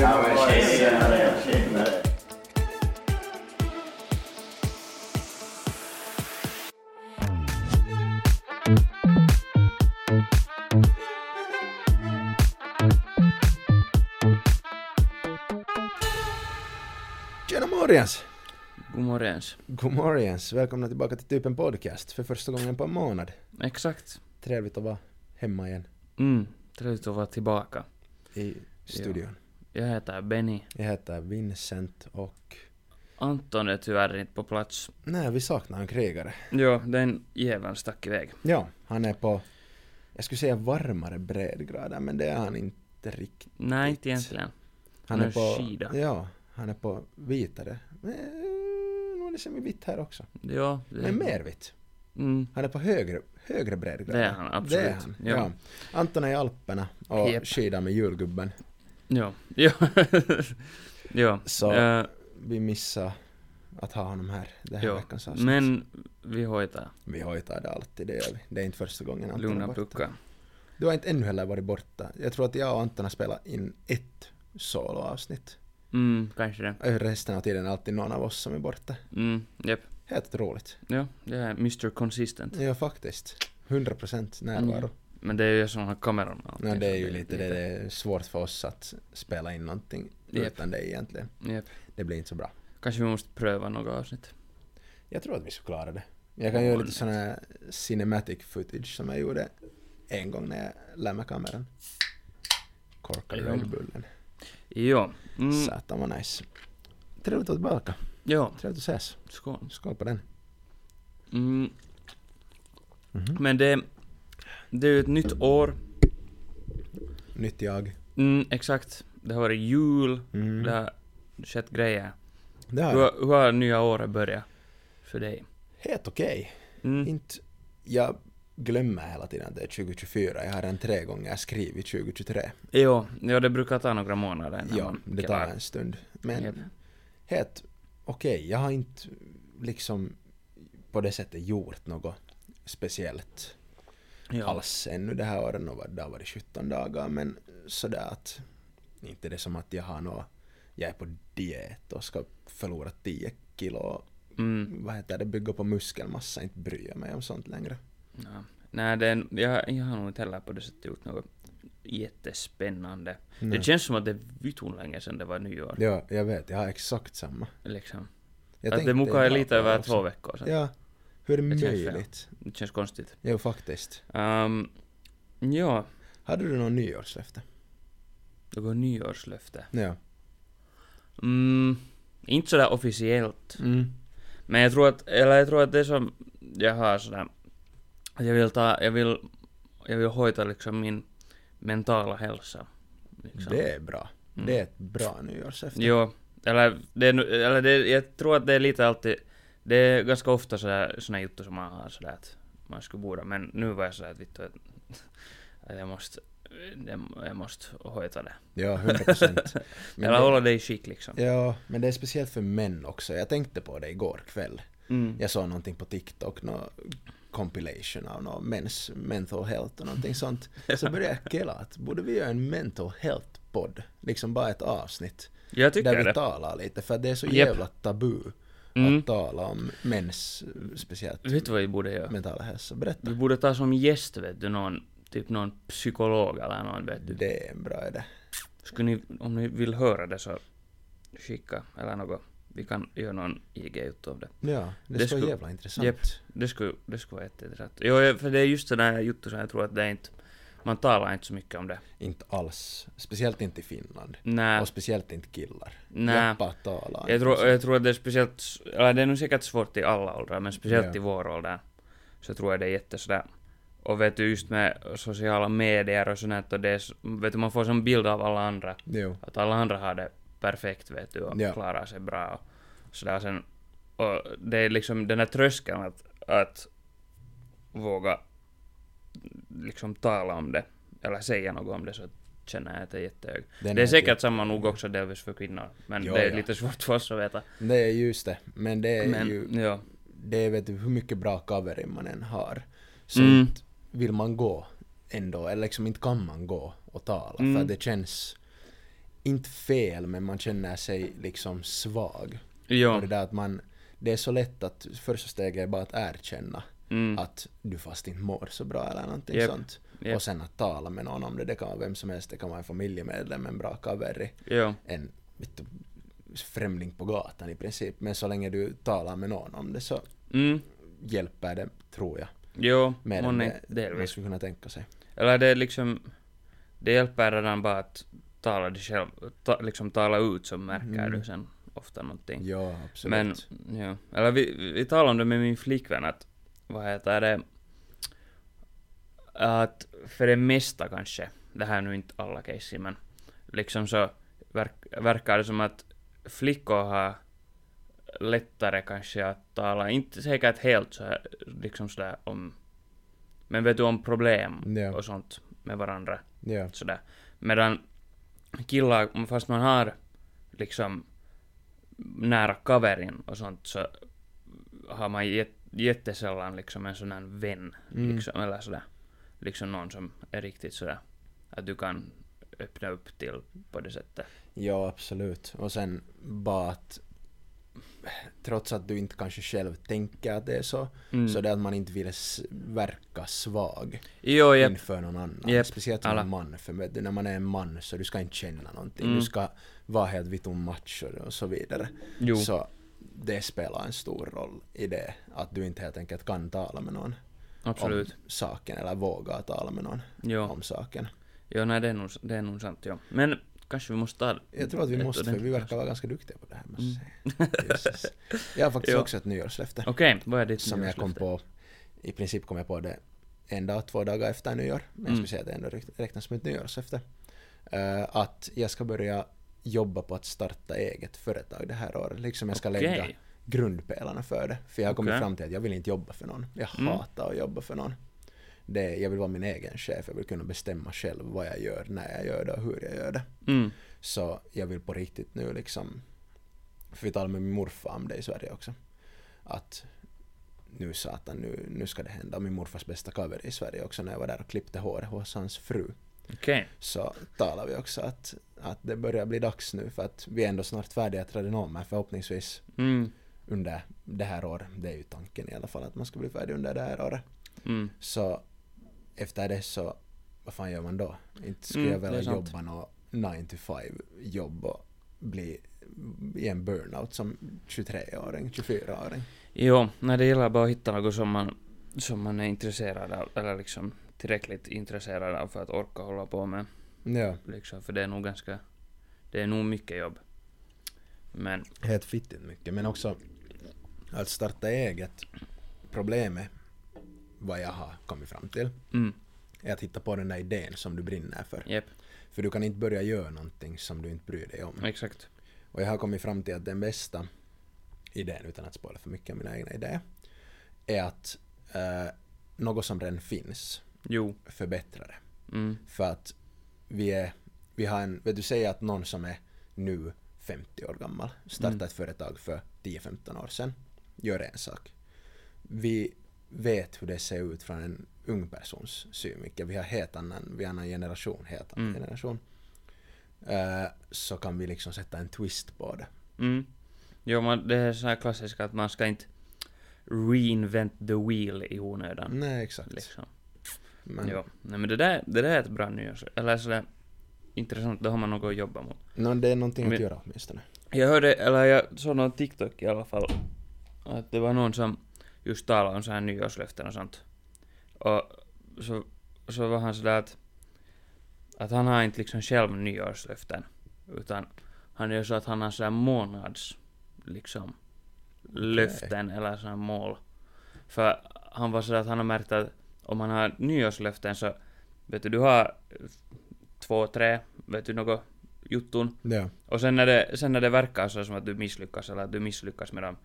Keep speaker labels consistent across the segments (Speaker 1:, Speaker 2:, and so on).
Speaker 1: Ja, men tjenare, tjenare.
Speaker 2: Tjena morgens!
Speaker 3: God morgens.
Speaker 2: God morgens! Välkomna tillbaka till Typen Podcast för första gången på en månad.
Speaker 3: Exakt.
Speaker 2: Trevligt att vara hemma igen
Speaker 3: Mm, trevligt att vara tillbaka.
Speaker 2: i studion.
Speaker 3: Jag heter Benny.
Speaker 2: Jag heter Vincent och...
Speaker 3: Anton är tyvärr inte på plats.
Speaker 2: Nej, vi saknar en krigare.
Speaker 3: Jo, den jäveln stack iväg.
Speaker 2: Ja, han är på... Jag skulle säga varmare breddgrader, men det är han inte riktigt.
Speaker 3: Nej, inte
Speaker 2: It.
Speaker 3: egentligen. Han är
Speaker 2: på...
Speaker 3: skida.
Speaker 2: Ja, han är på vitare. Men, eh, nu är det semi-vitt här också.
Speaker 3: Jo, det...
Speaker 2: Men mer vitt.
Speaker 3: Mm,
Speaker 2: Han är på högre, högre breddgrader.
Speaker 3: Det är han, absolut.
Speaker 2: Det är han, ja.
Speaker 3: Ja.
Speaker 2: Anton är i Alperna och
Speaker 3: Jep.
Speaker 2: skidar med julgubben.
Speaker 3: jo. Jo. jo.
Speaker 2: Så-
Speaker 3: eh,
Speaker 2: vi missar att ha honom här den här
Speaker 3: jo.
Speaker 2: veckans avsnitt.
Speaker 3: Men vi hojtar.
Speaker 2: Vi hojtar det alltid, det gör vi. Det är inte första gången Anton är
Speaker 3: Lugna
Speaker 2: borta.
Speaker 3: puckar.
Speaker 2: Du har inte ännu heller varit borta. Jag tror att jag och Anton har spelat in ett soloavsnitt.
Speaker 3: Mm, kanske det.
Speaker 2: Ö, Resten av tiden är alltid någon av oss som är borta.
Speaker 3: Mm, japp.
Speaker 2: Helt otroligt.
Speaker 3: Jo, jag är Mr Consistent.
Speaker 2: Ja, faktiskt. 100% närvaro.
Speaker 3: Mm. Men det är ju jag som har kameran. och
Speaker 2: Nej,
Speaker 3: allting,
Speaker 2: det är
Speaker 3: så
Speaker 2: ju lite det, det är svårt för oss att spela in någonting
Speaker 3: Jep.
Speaker 2: utan det egentligen.
Speaker 3: Japp.
Speaker 2: Det blir inte så bra.
Speaker 3: Kanske vi måste pröva några avsnitt.
Speaker 2: Jag tror att vi ska klara det. Jag kan göra lite sån här cinematic footage som jag gjorde en gång när jag lämnade kameran. Korkade
Speaker 3: Ja.
Speaker 2: Red Bullen.
Speaker 3: Jo. Mm,
Speaker 2: Satan vad nice. Trevligt att vara tillbaka.
Speaker 3: jo,
Speaker 2: Trevligt att ses.
Speaker 3: skål.
Speaker 2: Skål på den.
Speaker 3: Mm.
Speaker 2: Mhm.
Speaker 3: Men det, det är ju ett nytt år.
Speaker 2: Nytt jag.
Speaker 3: Mm, exakt. Det har varit jul,
Speaker 2: Mm.
Speaker 3: det har skett grejer.
Speaker 2: Det har jag.
Speaker 3: Hur, hur har nya året börjat för dig?
Speaker 2: Helt okej.
Speaker 3: Mm.
Speaker 2: Inte... Jag glömmer hela tiden att det är 2024. Jag har den tre gånger skrivit 2023.
Speaker 3: Jo, ja, det brukar ta några månader. när
Speaker 2: Ja,
Speaker 3: man-
Speaker 2: det tar en stund. Men
Speaker 3: Japp.
Speaker 2: helt okej. Jag har inte liksom på det sättet gjort något speciellt
Speaker 3: ja.
Speaker 2: alls ännu det här året. Och det har varit 17 dagar men sådär att inte det som att jag har något, jag är på diet och ska förlora 10 kilo och
Speaker 3: Mm.
Speaker 2: vad heter det, bygga på muskelmassa, inte bryr jag mig om sånt längre.
Speaker 3: ja. Nej, det är, jag, jag har nog inte heller på det sättet gjort något jättespännande.
Speaker 2: Nej.
Speaker 3: Det känns som att det är vitton länge sedan det var nyår.
Speaker 2: Ja, jag vet, jag har exakt samma.
Speaker 3: Liksom.
Speaker 2: Jag
Speaker 3: att
Speaker 2: tänkte
Speaker 3: det muka är
Speaker 2: idag
Speaker 3: lite
Speaker 2: på
Speaker 3: över
Speaker 2: också.
Speaker 3: två veckor sedan.
Speaker 2: Ja, hur är det
Speaker 3: Det känns fel.
Speaker 2: möjligt?
Speaker 3: Det känns konstigt.
Speaker 2: Jo, faktiskt.
Speaker 3: Um, ja,
Speaker 2: Hade du någon nyårslöfte?
Speaker 3: något nyårslöfte.
Speaker 2: Ja.
Speaker 3: Mm, inte sådär officiellt. Men jag tror att, eller jag tror att det som jag har sådär, att jag vill ta, jag vill, jag vill hojta liksom min mentala hälsa. Liksom.
Speaker 2: Det är bra.
Speaker 3: Mm.
Speaker 2: Det är ett bra nyårslöfte.
Speaker 3: Jo, eller, det, är nu- eller det, jag tror att det är lite alltid, det är ganska ofta sådär, såna juttu som man har sådär att man skulle borde, men nu var jag sådär att vittu att, att jag måste, jag måste hojta det.
Speaker 2: Ja, 100 procent.
Speaker 3: Eller hålla det i skick liksom.
Speaker 2: Ja, men det är speciellt för män också. Jag tänkte på det igår kväll.
Speaker 3: Mm.
Speaker 2: Jag såg någonting på TikTok, nå compilation av någon mens mental health och någonting sånt. Så började jag kela att borde vi göra en mental health-podd? Liksom bara ett avsnitt.
Speaker 3: Jag
Speaker 2: där
Speaker 3: tycker
Speaker 2: vi
Speaker 3: det.
Speaker 2: talar lite, för det är så
Speaker 3: Jep.
Speaker 2: jävla tabu
Speaker 3: Mm.
Speaker 2: att tala om mens, speciellt
Speaker 3: Vet du vad vi borde göra?
Speaker 2: mentala hälsa. Berätta.
Speaker 3: Vi borde ta som gäst vet du någon, typ någon psykolog eller någon vet du.
Speaker 2: Det är en bra idé.
Speaker 3: Skulle ni, om ni vill höra det så skicka eller något. Vi kan göra någon IG ut av det.
Speaker 2: Ja, det,
Speaker 3: Det
Speaker 2: är så
Speaker 3: skulle-
Speaker 2: jävla intressant.
Speaker 3: Jep. Det skulle, det skulle vara jätteintressant. Jo, ja, för det är just sådana här juttu som jag tror att det är inte, man talar inte så mycket om det.
Speaker 2: Inte alls. Speciellt inte i Finland.
Speaker 3: Nej.
Speaker 2: Och speciellt inte killar.
Speaker 3: Nej.
Speaker 2: Jappar talar
Speaker 3: Jag
Speaker 2: inte
Speaker 3: tror,
Speaker 2: så.
Speaker 3: jag tror att det är speciellt, eller det är nog säkert svårt i alla åldrar, men speciellt
Speaker 2: Ja.
Speaker 3: i vår ålder så tror jag det är jättesådär. Och vet du, just med sociala medier och sånt här, och det är, s- vet du, man får som bild av alla andra,
Speaker 2: Jo.
Speaker 3: att alla andra har det perfekt vet du och
Speaker 2: Ja.
Speaker 3: klarar sig bra och sådär sen. Och det är liksom den här tröskeln att, att våga liksom tala om det eller säga något om det så känner jag att det är jättehög.
Speaker 2: Den
Speaker 3: det är
Speaker 2: är
Speaker 3: säkert samma nog också delvis för kvinnor, men
Speaker 2: Jo,
Speaker 3: det är
Speaker 2: ja.
Speaker 3: lite svårt för oss att veta.
Speaker 2: Det är just det. Men det är
Speaker 3: Men,
Speaker 2: ju...
Speaker 3: ja.
Speaker 2: Det är vet du hur mycket bra covering man än har. Så
Speaker 3: Mm.
Speaker 2: inte vill man gå ändå, eller liksom inte kan man gå och tala
Speaker 3: Mm.
Speaker 2: för det känns inte fel men man känner sig liksom svag.
Speaker 3: Joo.
Speaker 2: Och det där att man, det är så lätt att första steget är bara att erkänna
Speaker 3: Mm.
Speaker 2: att du fast inte mår så bra eller någonting
Speaker 3: Jep.
Speaker 2: sånt.
Speaker 3: Jep.
Speaker 2: Och sen att tala med någon om det, det kan vara vem som helst, det kan vara en familjemedlem, en bra kaveri,
Speaker 3: Joo.
Speaker 2: en vet du, främling på gatan i princip. Men så länge du talar med någon om det så
Speaker 3: Mm.
Speaker 2: hjälper det, tror jag.
Speaker 3: Joo,
Speaker 2: Mer än
Speaker 3: moni,
Speaker 2: det man
Speaker 3: delvis.
Speaker 2: skulle kunna tänka sig.
Speaker 3: Eller det är liksom, det hjälper redan bara att tala dig själv, ta, liksom tala ut så märker
Speaker 2: Mm.
Speaker 3: du sen ofta någonting.
Speaker 2: Ja, absolut.
Speaker 3: Mm. Men, ja. Eller vi, vi talade om det med min flickvän att, vad heter det, att för det mesta kanske, det här är nu inte alla case men liksom så verk, verkar det som att flickor har lättare kanske att tala, inte säkert helt så här, liksom sådär om, men vet du om problem
Speaker 2: Ja.
Speaker 3: och sånt med varandra
Speaker 2: ja.
Speaker 3: sådär. Medan killar, fast man har liksom nära kaverin och sånt så har man jät, jättesällan liksom en sån här vän,
Speaker 2: Mm.
Speaker 3: liksom, eller sådär, liksom någon som är riktigt sådär, att du kan öppna upp till på det sättet.
Speaker 2: ja, absolut. Och sen bara att trots att du inte kanske själv tänker att det är så,
Speaker 3: Mm.
Speaker 2: så det är att man inte vill s- verka svag
Speaker 3: Jo, jep.
Speaker 2: inför någon annan.
Speaker 3: Jep,
Speaker 2: Speciellt som
Speaker 3: alla.
Speaker 2: en man, för vet du, när man är en man så du ska inte känna någonting.
Speaker 3: Mm.
Speaker 2: Du ska vara helt vitun macho och så vidare.
Speaker 3: Jo.
Speaker 2: Så det spelar en stor roll i det, att du inte helt enkelt kan tala med någon
Speaker 3: Absolut.
Speaker 2: om saken, eller våga tala med någon
Speaker 3: Jo.
Speaker 2: om saken.
Speaker 3: Jo, nej, det är nog, det är nog sant, jo. Men kanske vi måste ta
Speaker 2: Jag tror att vi
Speaker 3: ett
Speaker 2: måste, för vi
Speaker 3: ordentligt Mm.
Speaker 2: verkar vara ganska duktiga på det här. måste jag säga. Jesus. Jag har faktiskt
Speaker 3: Jo.
Speaker 2: också ett nyårslöfte.
Speaker 3: Okej, vad är ditt
Speaker 2: Som jag kom
Speaker 3: nyårslöfte?
Speaker 2: på, i princip kom jag på det en dag, två dagar efter nyår. Men jag
Speaker 3: Mm.
Speaker 2: skulle säga att det ändå räk- räknas som ett nyårslöfte. Eh, att jag ska börja jobba på att starta eget företag det här året. Liksom jag ska
Speaker 3: Okej.
Speaker 2: lägga grundpelarna för det. För jag har kommit
Speaker 3: Okej.
Speaker 2: fram till att jag vill inte jobba för någon. Jag
Speaker 3: Mm.
Speaker 2: hatar att jobba för någon. Det, jag vill vara min egen chef, jag vill kunna bestämma själv vad jag gör, när jag gör det och hur jag gör det.
Speaker 3: Mm.
Speaker 2: Så jag vill på riktigt nu liksom, för vi talade med min morfar om det i Sverige också, att nu satan, nu, nu ska det hända. Min morfars bästa cover i Sverige också när jag var där och klippte håret hos hans fru.
Speaker 3: Okej.
Speaker 2: Så talade vi också att, att det börjar bli dags nu för att vi är ändå snart färdiga tradenomer förhoppningsvis
Speaker 3: Mm.
Speaker 2: under det här året. Det är ju tanken i alla fall att man ska bli färdig under det här året.
Speaker 3: Mm.
Speaker 2: Så efter det så, vad fan gör man då? Inte skulle
Speaker 3: Mm,
Speaker 2: jag
Speaker 3: det är
Speaker 2: vilja
Speaker 3: sant.
Speaker 2: jobba något 9 to 5 jobb och bli i en burnout som 23-åring, 24-åring.
Speaker 3: Jo, när det gäller bara att hitta något som man, som man är intresserad av, eller liksom tillräckligt intresserad av för att orka hålla på med.
Speaker 2: Ja,
Speaker 3: Liksom, för det är nog ganska, det är nog mycket jobb. Men,
Speaker 2: helt fittigt mycket. Men också att starta eget, problemet vad jag har kommit fram till
Speaker 3: mm,
Speaker 2: är att hitta på den där idén som du brinner för.
Speaker 3: jep,
Speaker 2: För du kan inte börja göra någonting som du inte bryr dig om.
Speaker 3: exakt.
Speaker 2: Och jag har kommit fram till att den bästa idén, utan att spoila för mycket av mina egna idéer, är att eh, något som redan finns,
Speaker 3: Jo,
Speaker 2: förbättra det.
Speaker 3: mm,
Speaker 2: För att vi är, vi har en, vet du säger att någon som är nu 50 år gammal startade
Speaker 3: Mm.
Speaker 2: ett företag för 10-15 år sedan, gör en sak. Vi vet hur det ser ut från en ung persons synvinkel. Vi har helt annan, vi har annan generation, helt annan
Speaker 3: Mm.
Speaker 2: generation. Eh, så kan vi liksom sätta en twist på det.
Speaker 3: mm. Jo, man, det är så här klassiskt att man ska inte reinvent the wheel i onödan.
Speaker 2: Nej, exakt.
Speaker 3: Liksom.
Speaker 2: Mm. Men,
Speaker 3: Jo, nej men det där, det där är ett bra nyårs... Eller sådär intressant, då har man något att jobba mot.
Speaker 2: no, det är någonting
Speaker 3: Men-
Speaker 2: att göra åtminstone.
Speaker 3: Jag hörde, eller jag såg någon TikTok i alla fall, att det var någon som just talade om så här nyårslöften och sånt. Och så, så var han sådär att, att han har inte liksom själv nyårslöften, utan han gör så att han har sådär månads, liksom, löften eller sådär mål. För han var sådär att han har märkt att om man har nyårslöften så, vet du, du har två, tre, vet du, något juttun,
Speaker 2: Ja.
Speaker 3: och sen när det, sen när det verkar så som att du misslyckas eller att du misslyckas med dem,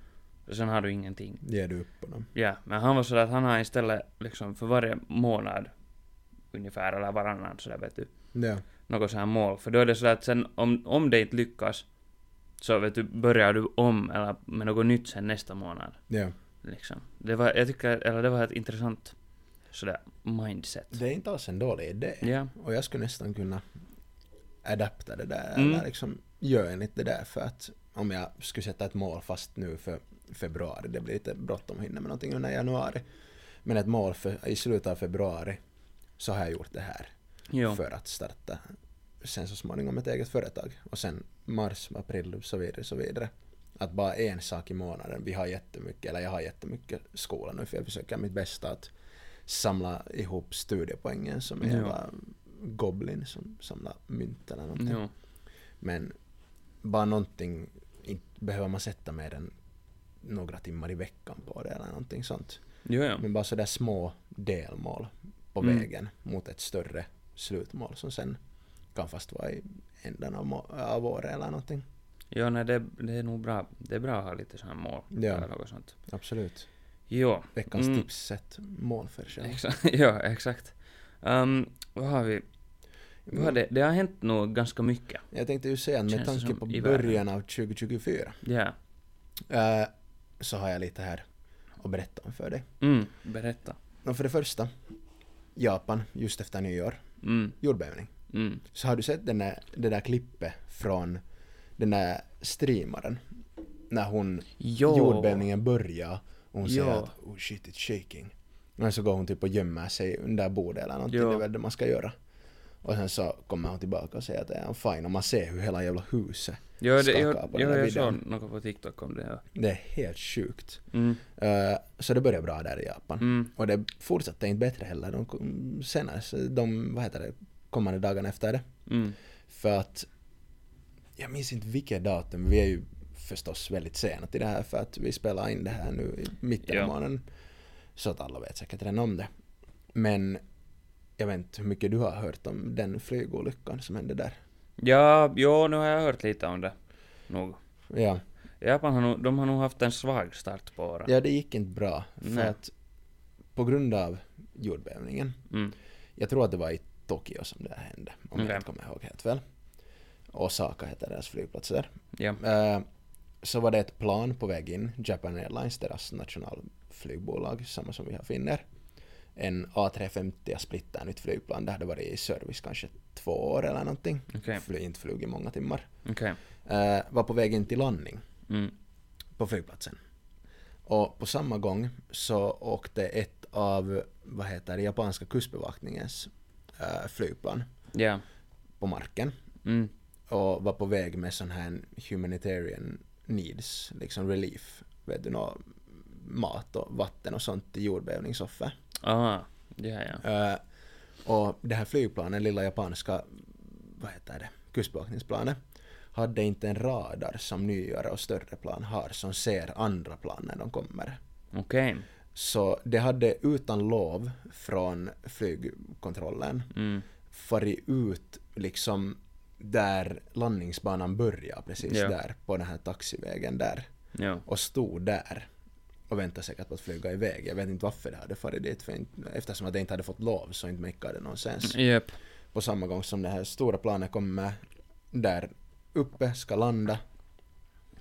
Speaker 3: sen har du ingenting.
Speaker 2: Ger du upp på dem.
Speaker 3: Ja, men han var sådär att han har istället liksom för varje månad ungefär eller varannan sådär vet du,
Speaker 2: Ja.
Speaker 3: något sådant mål. För då är det sådär att sen om, om det inte lyckas så vet du, börjar du om eller med något nytt sen nästa månad.
Speaker 2: Ja.
Speaker 3: Liksom. Det var, jag tycker, eller det var ett intressant sådär mindset.
Speaker 2: Det är inte alls en dålig idé.
Speaker 3: Ja.
Speaker 2: Och jag skulle nästan kunna adapta det där
Speaker 3: Mm.
Speaker 2: eller liksom göra enligt det där för att om jag skulle sätta ett mål fast nu för februari, det blir lite bråttom att hinna med någonting under januari. Men ett mål för, i slutet av februari så har jag gjort det här
Speaker 3: Jo.
Speaker 2: för att starta sen så småningom ett eget företag och sen mars, april och så vidare så vidare. Att bara en sak i månaden, vi har jättemycket, eller jag har jättemycket skola nu för jag försöker mitt bästa att samla ihop studiepoängen som är
Speaker 3: Ja.
Speaker 2: ja. goblin som samlar mynt eller någonting.
Speaker 3: Jo.
Speaker 2: Men bara någonting, inte behöver man sätta mer än några timmar i veckan på det eller någonting sånt.
Speaker 3: Jo, jo.
Speaker 2: Men bara sådär små delmål på
Speaker 3: Mm.
Speaker 2: vägen mot ett större slutmål som sen kan fast vara i änden av, må- av året eller någonting.
Speaker 3: jo nej, det, det är nog bra. Det är bra att ha lite sådana mål.
Speaker 2: Ja.
Speaker 3: Eller något sånt.
Speaker 2: Absolut.
Speaker 3: Jo.
Speaker 2: Veckans
Speaker 3: Mm.
Speaker 2: tips sätt mål för sig.
Speaker 3: Exakt. ja, exakt. Ehm, vad har vi? Vad har det? det har hänt nog ganska mycket.
Speaker 2: Mm. Jag tänkte ju säga att med
Speaker 3: Känns det
Speaker 2: tanke
Speaker 3: som
Speaker 2: på
Speaker 3: i världen.
Speaker 2: början av 2024
Speaker 3: Ja.
Speaker 2: eh, så har jag lite här att berätta om för dig.
Speaker 3: Mm. Berätta.
Speaker 2: Och för det första, Japan just efter nyår,
Speaker 3: Mm.
Speaker 2: jordbävning.
Speaker 3: Mm.
Speaker 2: Så har du sett den där, det där klippet från den där streamaren? När hon
Speaker 3: Jo.
Speaker 2: jordbävningen börjar och hon
Speaker 3: Ja.
Speaker 2: säger att oh shit it's shaking. Men så går hon typ och gömmer sig under bordet eller någonting,
Speaker 3: Ja.
Speaker 2: det är väl det man ska göra. Och sen så kommer hon tillbaka och säger att är han fine och man ser hur hela jävla huset
Speaker 3: Jo, det, jo,
Speaker 2: skakar på
Speaker 3: jo
Speaker 2: den där
Speaker 3: jag
Speaker 2: videon.
Speaker 3: såg något på TikTok om det. här.
Speaker 2: Det är helt sjukt.
Speaker 3: Mm.
Speaker 2: Eh, så det börjar bra där i Japan.
Speaker 3: Mm.
Speaker 2: Och det fortsatte inte bättre heller de kom- senare, så de, vad heter det, kommande dagarna efter det.
Speaker 3: Mm.
Speaker 2: För att jag minns inte vilket datum, vi är ju förstås väldigt sena till det här för att vi spelar in det här nu i mitten
Speaker 3: Ja.
Speaker 2: av månaden. Så att alla vet säkert redan om det. Men jag vet inte hur mycket du har hört om den flygolyckan som hände där.
Speaker 3: Ja, jo, nu har jag hört lite om det. Nog.
Speaker 2: Ja,
Speaker 3: Japan har nog, de har nog haft en svag start på året.
Speaker 2: ja det gick inte bra för
Speaker 3: Nej.
Speaker 2: att på grund av jordbävningen,
Speaker 3: Mm.
Speaker 2: jag tror att det var i Tokyo som det här hände, om
Speaker 3: Okej.
Speaker 2: jag inte kommer ihåg helt väl. Osaka heter deras flygplats där.
Speaker 3: Ja.
Speaker 2: Eh, så var det ett plan på väg in, Japan Airlines, deras nationalflygbolag, samma som vi har finner. En A350 splittar nytt flygplan, det hade varit i service kanske två år eller någonting.
Speaker 3: Okej.
Speaker 2: Fly, inte flugit många timmar.
Speaker 3: Okej.
Speaker 2: Eh, var på väg in till landning
Speaker 3: Mm.
Speaker 2: på flygplatsen. Och på samma gång så åkte ett av, vad heter det, japanska kustbevakningens eh, flygplan
Speaker 3: Ja.
Speaker 2: på marken
Speaker 3: Mm.
Speaker 2: och var på väg med sån här humanitarian needs, liksom relief, vet du, nå, mat och vatten och sånt till jordbävningsoffer.
Speaker 3: Aha. Ja, ja.
Speaker 2: Eh, och det här flygplanet, lilla japanska, vad heter det, kustbevakningsplanet, hade inte en radar som nyare och större plan har som ser andra plan när de kommer.
Speaker 3: Okej.
Speaker 2: Så det hade utan lov från flygkontrollen
Speaker 3: Mm.
Speaker 2: farit ut liksom där landningsbanan börjar, precis
Speaker 3: Ja.
Speaker 2: där, på den här taxivägen där.
Speaker 3: Jo.
Speaker 2: Och stod där och väntade säkert på att flyga iväg. Jag vet inte varför det hade farit dit, för inte, eftersom att det inte hade fått lov så inte mäckade det någonstans.
Speaker 3: Jep.
Speaker 2: På samma gång som det här stora planet kommer där uppe, ska landa.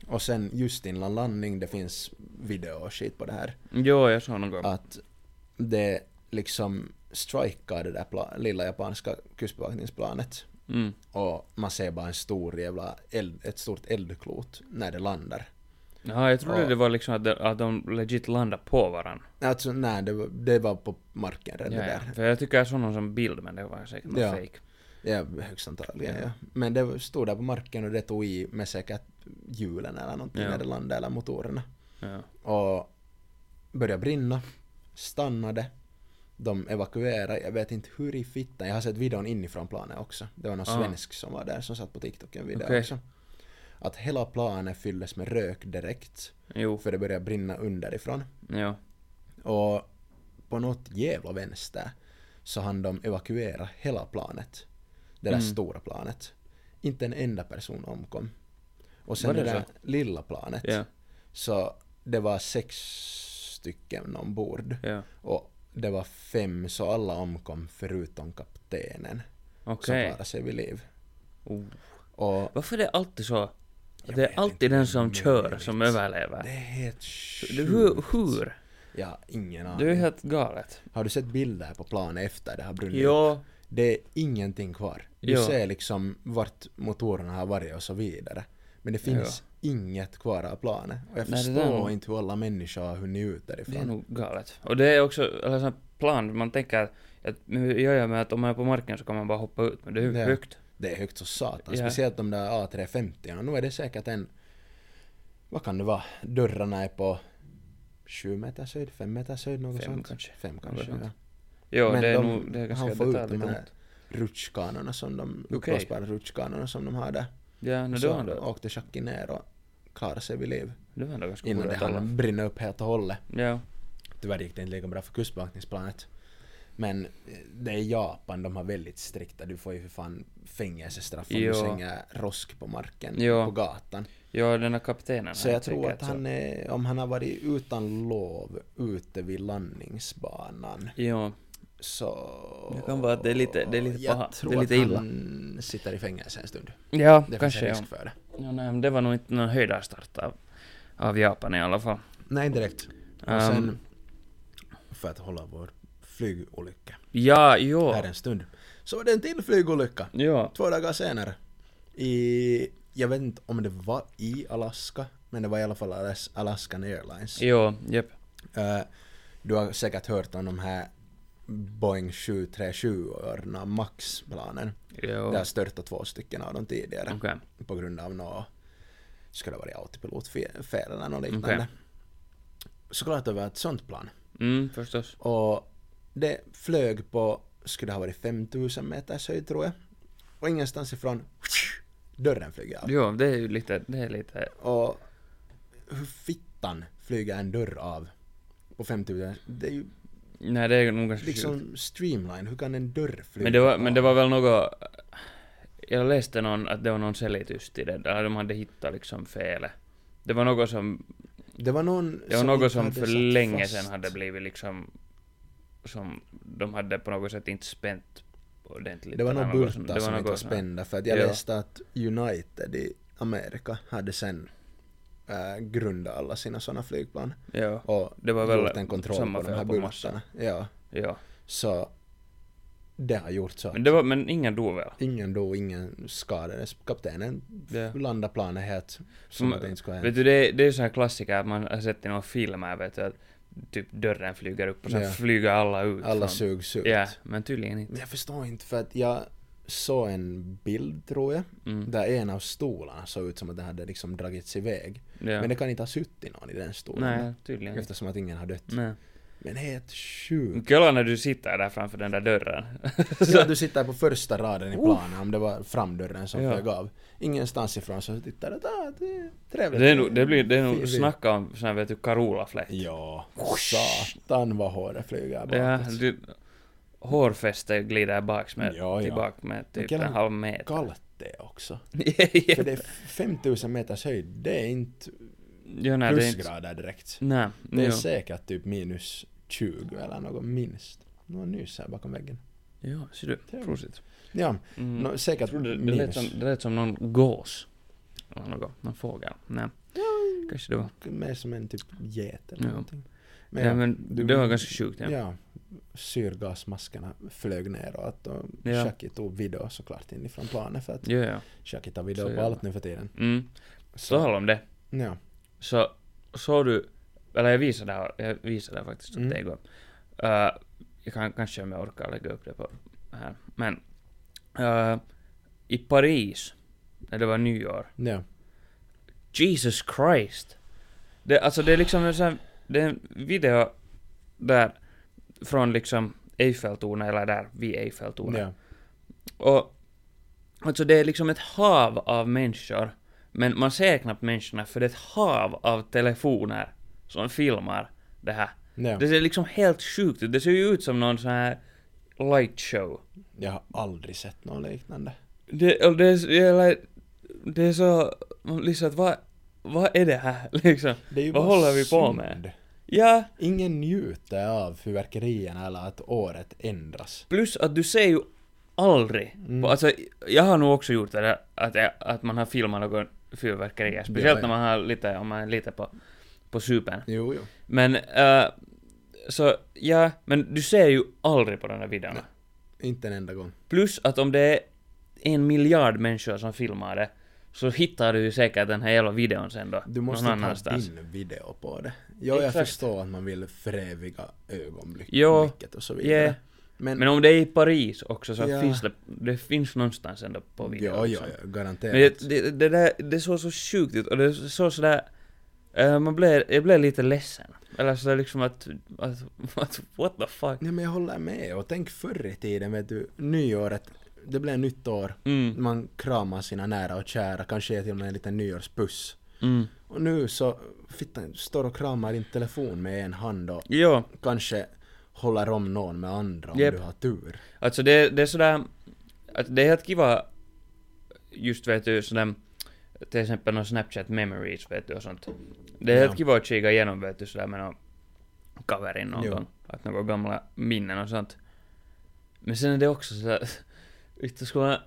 Speaker 2: Och sen just innan landning, det finns video och shit på det här
Speaker 3: Jo, jag såg något.
Speaker 2: att det liksom strikar det där pla- lilla japanska kustbevakningsplanet
Speaker 3: Mm.
Speaker 2: och man ser bara en stor jävla eld, ett stort eldklot när det landar.
Speaker 3: Ja, jag trodde
Speaker 2: Och-
Speaker 3: det var liksom att de, att de legit landade på varann.
Speaker 2: Alltså nej, det var, det var på marken
Speaker 3: Ja,
Speaker 2: redan
Speaker 3: ja.
Speaker 2: där.
Speaker 3: För jag tycker jag såg någon som bild, men det var säkert någon
Speaker 2: Ja.
Speaker 3: fake.
Speaker 2: Ja, högst antagligen ja. Men det stod där på marken och det tog i med säkert hjulen eller någonting
Speaker 3: Ja.
Speaker 2: när det landade eller motorerna.
Speaker 3: Ja.
Speaker 2: Och började brinna, stannade. De evakuerade, jag vet inte hur i fittan, jag har sett videon inifrån planet också. Det var någon
Speaker 3: Ah.
Speaker 2: svensk som var där som satt på TikTok en video
Speaker 3: Okej.
Speaker 2: också. Att hela planet fylldes med rök direkt,
Speaker 3: Jo.
Speaker 2: för det började brinna underifrån.
Speaker 3: Jo.
Speaker 2: Och på något jävla vänster så hann de evakuera hela planet. Det där
Speaker 3: Mm.
Speaker 2: stora planet. Inte en enda person omkom. Och
Speaker 3: Var
Speaker 2: sen
Speaker 3: det
Speaker 2: det, där lilla planet.
Speaker 3: Ja.
Speaker 2: Så det var sex stycken ombord
Speaker 3: Ja.
Speaker 2: och det var fem så alla omkom förutom kaptenen som
Speaker 3: Okej.
Speaker 2: klarade sig vid liv.
Speaker 3: Oh.
Speaker 2: Och
Speaker 3: Varför är det alltid så? att
Speaker 2: Jag
Speaker 3: Det
Speaker 2: vet
Speaker 3: är alltid
Speaker 2: inte,
Speaker 3: den som
Speaker 2: men
Speaker 3: kör
Speaker 2: möjligt.
Speaker 3: som
Speaker 2: det
Speaker 3: överlever.
Speaker 2: är helt
Speaker 3: Hur?
Speaker 2: sjukt.
Speaker 3: hur?
Speaker 2: Jag har ingen aning.
Speaker 3: Det är ju helt galet.
Speaker 2: Har du sett bilder på plan efter det har brunnit upp?
Speaker 3: Jo,
Speaker 2: Det är ingenting kvar. Du
Speaker 3: Jo.
Speaker 2: ser liksom vart motorerna har varit och så vidare. Men det finns inget kvar av planet. Och jag
Speaker 3: Nej, det där är
Speaker 2: förstår
Speaker 3: nog-
Speaker 2: inte hur alla människor har hunnit ut
Speaker 3: det är
Speaker 2: därifrån.
Speaker 3: nog galet. Och det är också eller sån här plan, man tänker att- att nu gör jag med att om man är på marken så kan man bara hoppa ut, men det är ju
Speaker 2: Ja.
Speaker 3: högt.
Speaker 2: Det är högt så satan.
Speaker 3: Ja.
Speaker 2: Speciellt de där A350. Nu är det säkert en... Vad kan det vara? Dörrarna är på 7 meters höjd, 5 meters höjd, något
Speaker 3: Fem
Speaker 2: sånt.
Speaker 3: kanske.
Speaker 2: Fem kanske,
Speaker 3: Något
Speaker 2: ja.
Speaker 3: sånt. Jo,
Speaker 2: Men
Speaker 3: det är
Speaker 2: de-
Speaker 3: nog, det är ganska
Speaker 2: han får ut de
Speaker 3: detaljrikt.
Speaker 2: här- Rutschkanorna som de...
Speaker 3: Okej.
Speaker 2: Uppblåsbara rutschkanorna som de har där.
Speaker 3: Ja, no, det
Speaker 2: så
Speaker 3: var ändå,
Speaker 2: åkte Jackie ner och klarade sig vid liv.
Speaker 3: det var ändå ganska
Speaker 2: Innan
Speaker 3: coolt
Speaker 2: det
Speaker 3: att alla.
Speaker 2: hann brinna upp helt och hållet.
Speaker 3: Ja,
Speaker 2: Tyvärr gick det inte lika bra för kustbevakningsplanet. Men eh, det är Japan, de har väldigt strikta. Du får ju för fan fängelsestraff om
Speaker 3: Jo.
Speaker 2: du slänger rosk på marken
Speaker 3: Jo.
Speaker 2: på gatan.
Speaker 3: ja den här kaptenen.
Speaker 2: Så
Speaker 3: han
Speaker 2: jag tror
Speaker 3: tänker
Speaker 2: att han är, om han har varit utan lov ute vid landningsbanan
Speaker 3: Jo,
Speaker 2: så...
Speaker 3: Det kan vara att det är lite- det är lite
Speaker 2: jag
Speaker 3: paha. Det är
Speaker 2: tror
Speaker 3: lite
Speaker 2: att
Speaker 3: illa.
Speaker 2: han sitter i fängelse en stund.
Speaker 3: ja
Speaker 2: Det finns
Speaker 3: kanske
Speaker 2: en
Speaker 3: ja.
Speaker 2: risk för det.
Speaker 3: ja nej, men det var nog inte någon höjdarstart av, av Japan i alla fall.
Speaker 2: Nej, inte direkt.
Speaker 3: Ehm.
Speaker 2: Och sen, för att hålla vår flygolycka
Speaker 3: Ja, jo.
Speaker 2: här en stund, så var det en till flygolycka.
Speaker 3: Ja,
Speaker 2: Två dagar senare. I, jag vet inte om det var i Alaska, men det var i alla fall Alas- Alaskan Airlines.
Speaker 3: jo, jep.
Speaker 2: Eh, du har säkert hört om de här Boeing 737-orna, Max-planen.
Speaker 3: Jo.
Speaker 2: Där störtade två stycken av dem tidigare
Speaker 3: Okej.
Speaker 2: på grund av något, skulle det varit autopilotfel eller något liknande.
Speaker 3: Okej.
Speaker 2: Såklart det var ett sånt plan.
Speaker 3: Mm, förstås.
Speaker 2: Och det flög på, skulle ha varit 5000 meters höjd tror jag. Och ingenstans ifrån, dörren flyger av.
Speaker 3: Jo, det är ju lite, det är lite...
Speaker 2: Och hur fittan flyger en dörr av på 5000? Det är ju
Speaker 3: Nej, det är nog ganska sjukt.
Speaker 2: liksom streamline, hur kan en dörr flyga
Speaker 3: Men det var,
Speaker 2: av?
Speaker 3: men det var väl något... Jag läste någon, att det var någon selitys till det där, de hade hittat liksom felet. Det var något som,
Speaker 2: det var någon
Speaker 3: det var något
Speaker 2: inte
Speaker 3: som
Speaker 2: hade
Speaker 3: för
Speaker 2: satt
Speaker 3: länge
Speaker 2: fast.
Speaker 3: sedan hade blivit liksom... Som de hade på något sätt inte spänt ordentligt.
Speaker 2: Det var
Speaker 3: eller
Speaker 2: några
Speaker 3: något sånt.
Speaker 2: bultar som inte var
Speaker 3: sånt.
Speaker 2: spända för att jag
Speaker 3: Ja.
Speaker 2: läste att United i Amerika hade sen äh, grundat alla sina sådana flygplan
Speaker 3: Ja,
Speaker 2: och
Speaker 3: Det var väl
Speaker 2: gjort en kontroll
Speaker 3: samma
Speaker 2: på de
Speaker 3: fel
Speaker 2: här
Speaker 3: på
Speaker 2: bultarna. Ja,
Speaker 3: ja.
Speaker 2: så det har gjort så.
Speaker 3: Men det var, men ingen dog väl?
Speaker 2: Ingen dog, ingen skadades. Kaptenen
Speaker 3: Ja.
Speaker 2: landade planet helt som
Speaker 3: Men,
Speaker 2: att det inte skulle ha
Speaker 3: Vet
Speaker 2: hänt.
Speaker 3: du, det är, det är så här klassiker att man har sett i några filmer, vet du, att typ dörren flyger upp och sen
Speaker 2: Ja.
Speaker 3: flyger alla ut.
Speaker 2: Alla
Speaker 3: från-
Speaker 2: sugs ut.
Speaker 3: Ja, men tydligen inte.
Speaker 2: Men Jag förstår inte för att jag såg en bild tror jag,
Speaker 3: Mm.
Speaker 2: där en av stolarna såg ut som att den hade liksom dragits iväg.
Speaker 3: Ja.
Speaker 2: Men det kan inte ha suttit någon i den stolen.
Speaker 3: Nej, tydligen inte. Mm.
Speaker 2: Eftersom att ingen har dött.
Speaker 3: Nej.
Speaker 2: Men helt sjukt.
Speaker 3: Kolla när du sitter där framför den där dörren.
Speaker 2: Så du sitter på första raden i planen, om det var framdörren som
Speaker 3: Oh. Ja.
Speaker 2: flög av. Ingenstans ifrån så tittar du ah, det är trevligt.
Speaker 3: det är nog, det blir, det är nog
Speaker 2: Fint.
Speaker 3: snacka om sån här vet du, Carola-fläkt.
Speaker 2: Ja, satan vad håret flyger bakåt.
Speaker 3: Ja, du, hårfäste glider bak med,
Speaker 2: Ja, ja.
Speaker 3: tillbaka med typ
Speaker 2: killar,
Speaker 3: en halv meter.
Speaker 2: Kallt det är också.
Speaker 3: ja,
Speaker 2: För det är 5000 meters höjd, det är inte
Speaker 3: Jo, nej, det är inte... Mm,
Speaker 2: plusgrader direkt.
Speaker 3: Nej,
Speaker 2: Det är
Speaker 3: jo.
Speaker 2: säkert typ minus 20 eller något minst. Någon nys här bakom väggen.
Speaker 3: Jo, ser du.
Speaker 2: Trevligt.
Speaker 3: Prosit.
Speaker 2: Ja,
Speaker 3: Mm.
Speaker 2: nå, säkert
Speaker 3: trodde det lät
Speaker 2: minus.
Speaker 3: som, det lät som någon gås. Eller något, någon fågel. Nej. Kanske det var.
Speaker 2: Mer som en typ get eller
Speaker 3: Ja.
Speaker 2: någonting.
Speaker 3: Men, Nej, men
Speaker 2: du-
Speaker 3: det var ganska sjukt. Ja.
Speaker 2: Ja. syrgasmaskerna flög neråt och
Speaker 3: Ja.
Speaker 2: Shaki tog video såklart inifrån planet för att
Speaker 3: Ja, ja.
Speaker 2: Shaki tar video
Speaker 3: Så
Speaker 2: på
Speaker 3: jävla.
Speaker 2: allt nu för tiden.
Speaker 3: Mm. Så
Speaker 2: Så,
Speaker 3: tal om det.
Speaker 2: ja.
Speaker 3: Så såg du, eller jag visade det här, jag visade det här faktiskt åt
Speaker 2: Mm.
Speaker 3: dig igår. Eh, jag kan, kanske om jag orkar lägga upp det på här. Men eh, i Paris, när det var nyår,
Speaker 2: ja.
Speaker 3: Jesus Christ! Det, alltså det är liksom en sån här, det är en video där från liksom Eiffeltornet, eller där vid Eiffeltornet.
Speaker 2: ja.
Speaker 3: Och alltså det är liksom ett hav av människor, men man ser knappt människorna för det är ett hav av telefoner som filmar det här.
Speaker 2: ja.
Speaker 3: Det ser liksom helt sjukt ut, det ser ju ut som någon sån här lightshow.
Speaker 2: Jag har aldrig sett något liknande.
Speaker 3: Det, och det, är- eller, det är så, man liksom att vad, vad är det här liksom?
Speaker 2: Det är ju
Speaker 3: Vad
Speaker 2: bara
Speaker 3: håller vi på med?
Speaker 2: synd.
Speaker 3: Ja,
Speaker 2: Ingen njuter av fyrverkerierna eller att året ändras.
Speaker 3: Plus att du ser ju aldrig,
Speaker 2: Mm.
Speaker 3: på, alltså jag har nog också gjort det där, att, jag, att man har filmat någon fyrverkerier, speciellt
Speaker 2: Ja, ja.
Speaker 3: när man har lite, om man är lite på, på supen.
Speaker 2: Jo, jo.
Speaker 3: Men, äh, Så ja, men du ser ju aldrig på de där videorna.
Speaker 2: Inte en enda gång.
Speaker 3: Plus att om det är en miljard människor som filmar det, så hittar du ju säkert den här jävla videon sen då.
Speaker 2: Du måste
Speaker 3: någon
Speaker 2: ta
Speaker 3: annanstans.
Speaker 2: din video på det. Jo, jag
Speaker 3: Exakt.
Speaker 2: förstår att man vill föreviga ögonblicket
Speaker 3: Jo,
Speaker 2: blicket och så vidare.
Speaker 3: yeah.
Speaker 2: Men,
Speaker 3: Men om det är i Paris också så
Speaker 2: Ja.
Speaker 3: finns det, det finns någonstans ändå på videon.
Speaker 2: jo, jo,
Speaker 3: liksom.
Speaker 2: jo, garanterat.
Speaker 3: Men det, det, det, där, det såg så sjukt ut och det såg sådär... eh, man blev, jag blev lite ledsen. Eller sådär liksom att, att, att... What the fuck?
Speaker 2: Nej, men jag håller med. Och tänk förr i tiden, vet du, nyåret, det blev nytt år.
Speaker 3: Mm.
Speaker 2: Man kramar sina nära och kära, kanske ger till och med en liten nyårspuss.
Speaker 3: Mm.
Speaker 2: Och nu så, fittan, står och kramar din telefon med en hand och
Speaker 3: Jo,
Speaker 2: kanske håller om någon med andra om
Speaker 3: Jep.
Speaker 2: du har tur.
Speaker 3: alltså det, det är sådär... Att det är helt kiva... Just vet du sådär... Till exempel någon Snapchat memories vet du och sånt. Det är
Speaker 2: Ja.
Speaker 3: helt kiva att kika igenom vet du sådär med någon kaverin någon
Speaker 2: Jo.
Speaker 3: gång. Att några gamla minnen och sånt. Men sen är det också sådär... Vittu skulle man...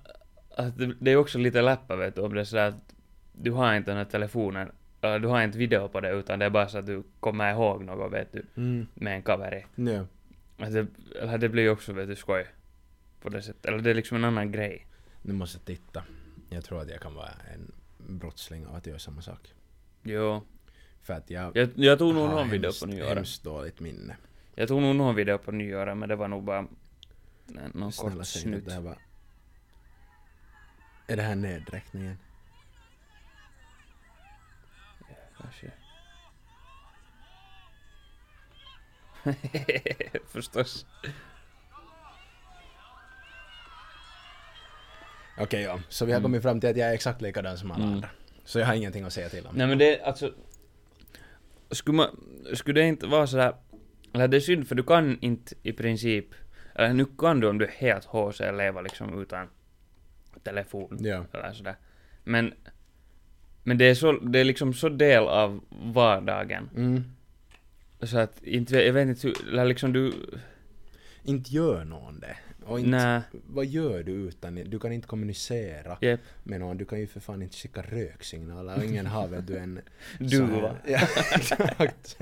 Speaker 3: Att det, det är också lite läppar vet du om det är sådär att du har inte den här telefonen. eller Du har inte video på det utan det är bara så att du kommer ihåg något vet du
Speaker 2: Mm.
Speaker 3: med en kaveri.
Speaker 2: Ja.
Speaker 3: Att det, eller det blir ju också vet du skoj. På det sättet. Eller det är liksom en annan grej.
Speaker 2: Nu måste jag titta. Jag tror att jag kan vara en brottsling av att göra samma sak.
Speaker 3: Jo.
Speaker 2: För att jag...
Speaker 3: Jag, jag tog nog
Speaker 2: har
Speaker 3: någon video
Speaker 2: hemskt-
Speaker 3: på nyåret.
Speaker 2: Hemskt dåligt minne.
Speaker 3: Jag tog nog någon video på nyåret men det var nog bara nej, någon
Speaker 2: Snälla
Speaker 3: kort
Speaker 2: säg inte att
Speaker 3: snutt.
Speaker 2: det här var... Är det här nedräkningen?
Speaker 3: Kanske. Förstås.
Speaker 2: Okej, ja. Så vi har
Speaker 3: Mm.
Speaker 2: kommit fram till att jag är exakt likadan som alla
Speaker 3: Mm.
Speaker 2: andra. Så jag har ingenting att säga till om.
Speaker 3: Nej men det, alltså... Skulle, man, skulle det inte vara sådär... Eller det är synd för du kan inte i princip... Eller nu kan du om du är helt HC leva liksom utan telefon
Speaker 2: Ja.
Speaker 3: eller sådär. Men... Men det är, så, det är liksom så del av vardagen.
Speaker 2: Mm.
Speaker 3: Så att inte, jag vet inte hur... Eller liksom du...
Speaker 2: Inte gör någon det. Och inte,
Speaker 3: Nej,
Speaker 2: vad gör du utan... Du kan inte kommunicera
Speaker 3: jep.
Speaker 2: med någon. Du kan ju för fan inte skicka röksignaler. Och ingen har väl du en...
Speaker 3: Du
Speaker 2: sån här-
Speaker 3: va?
Speaker 2: Ja, exakt.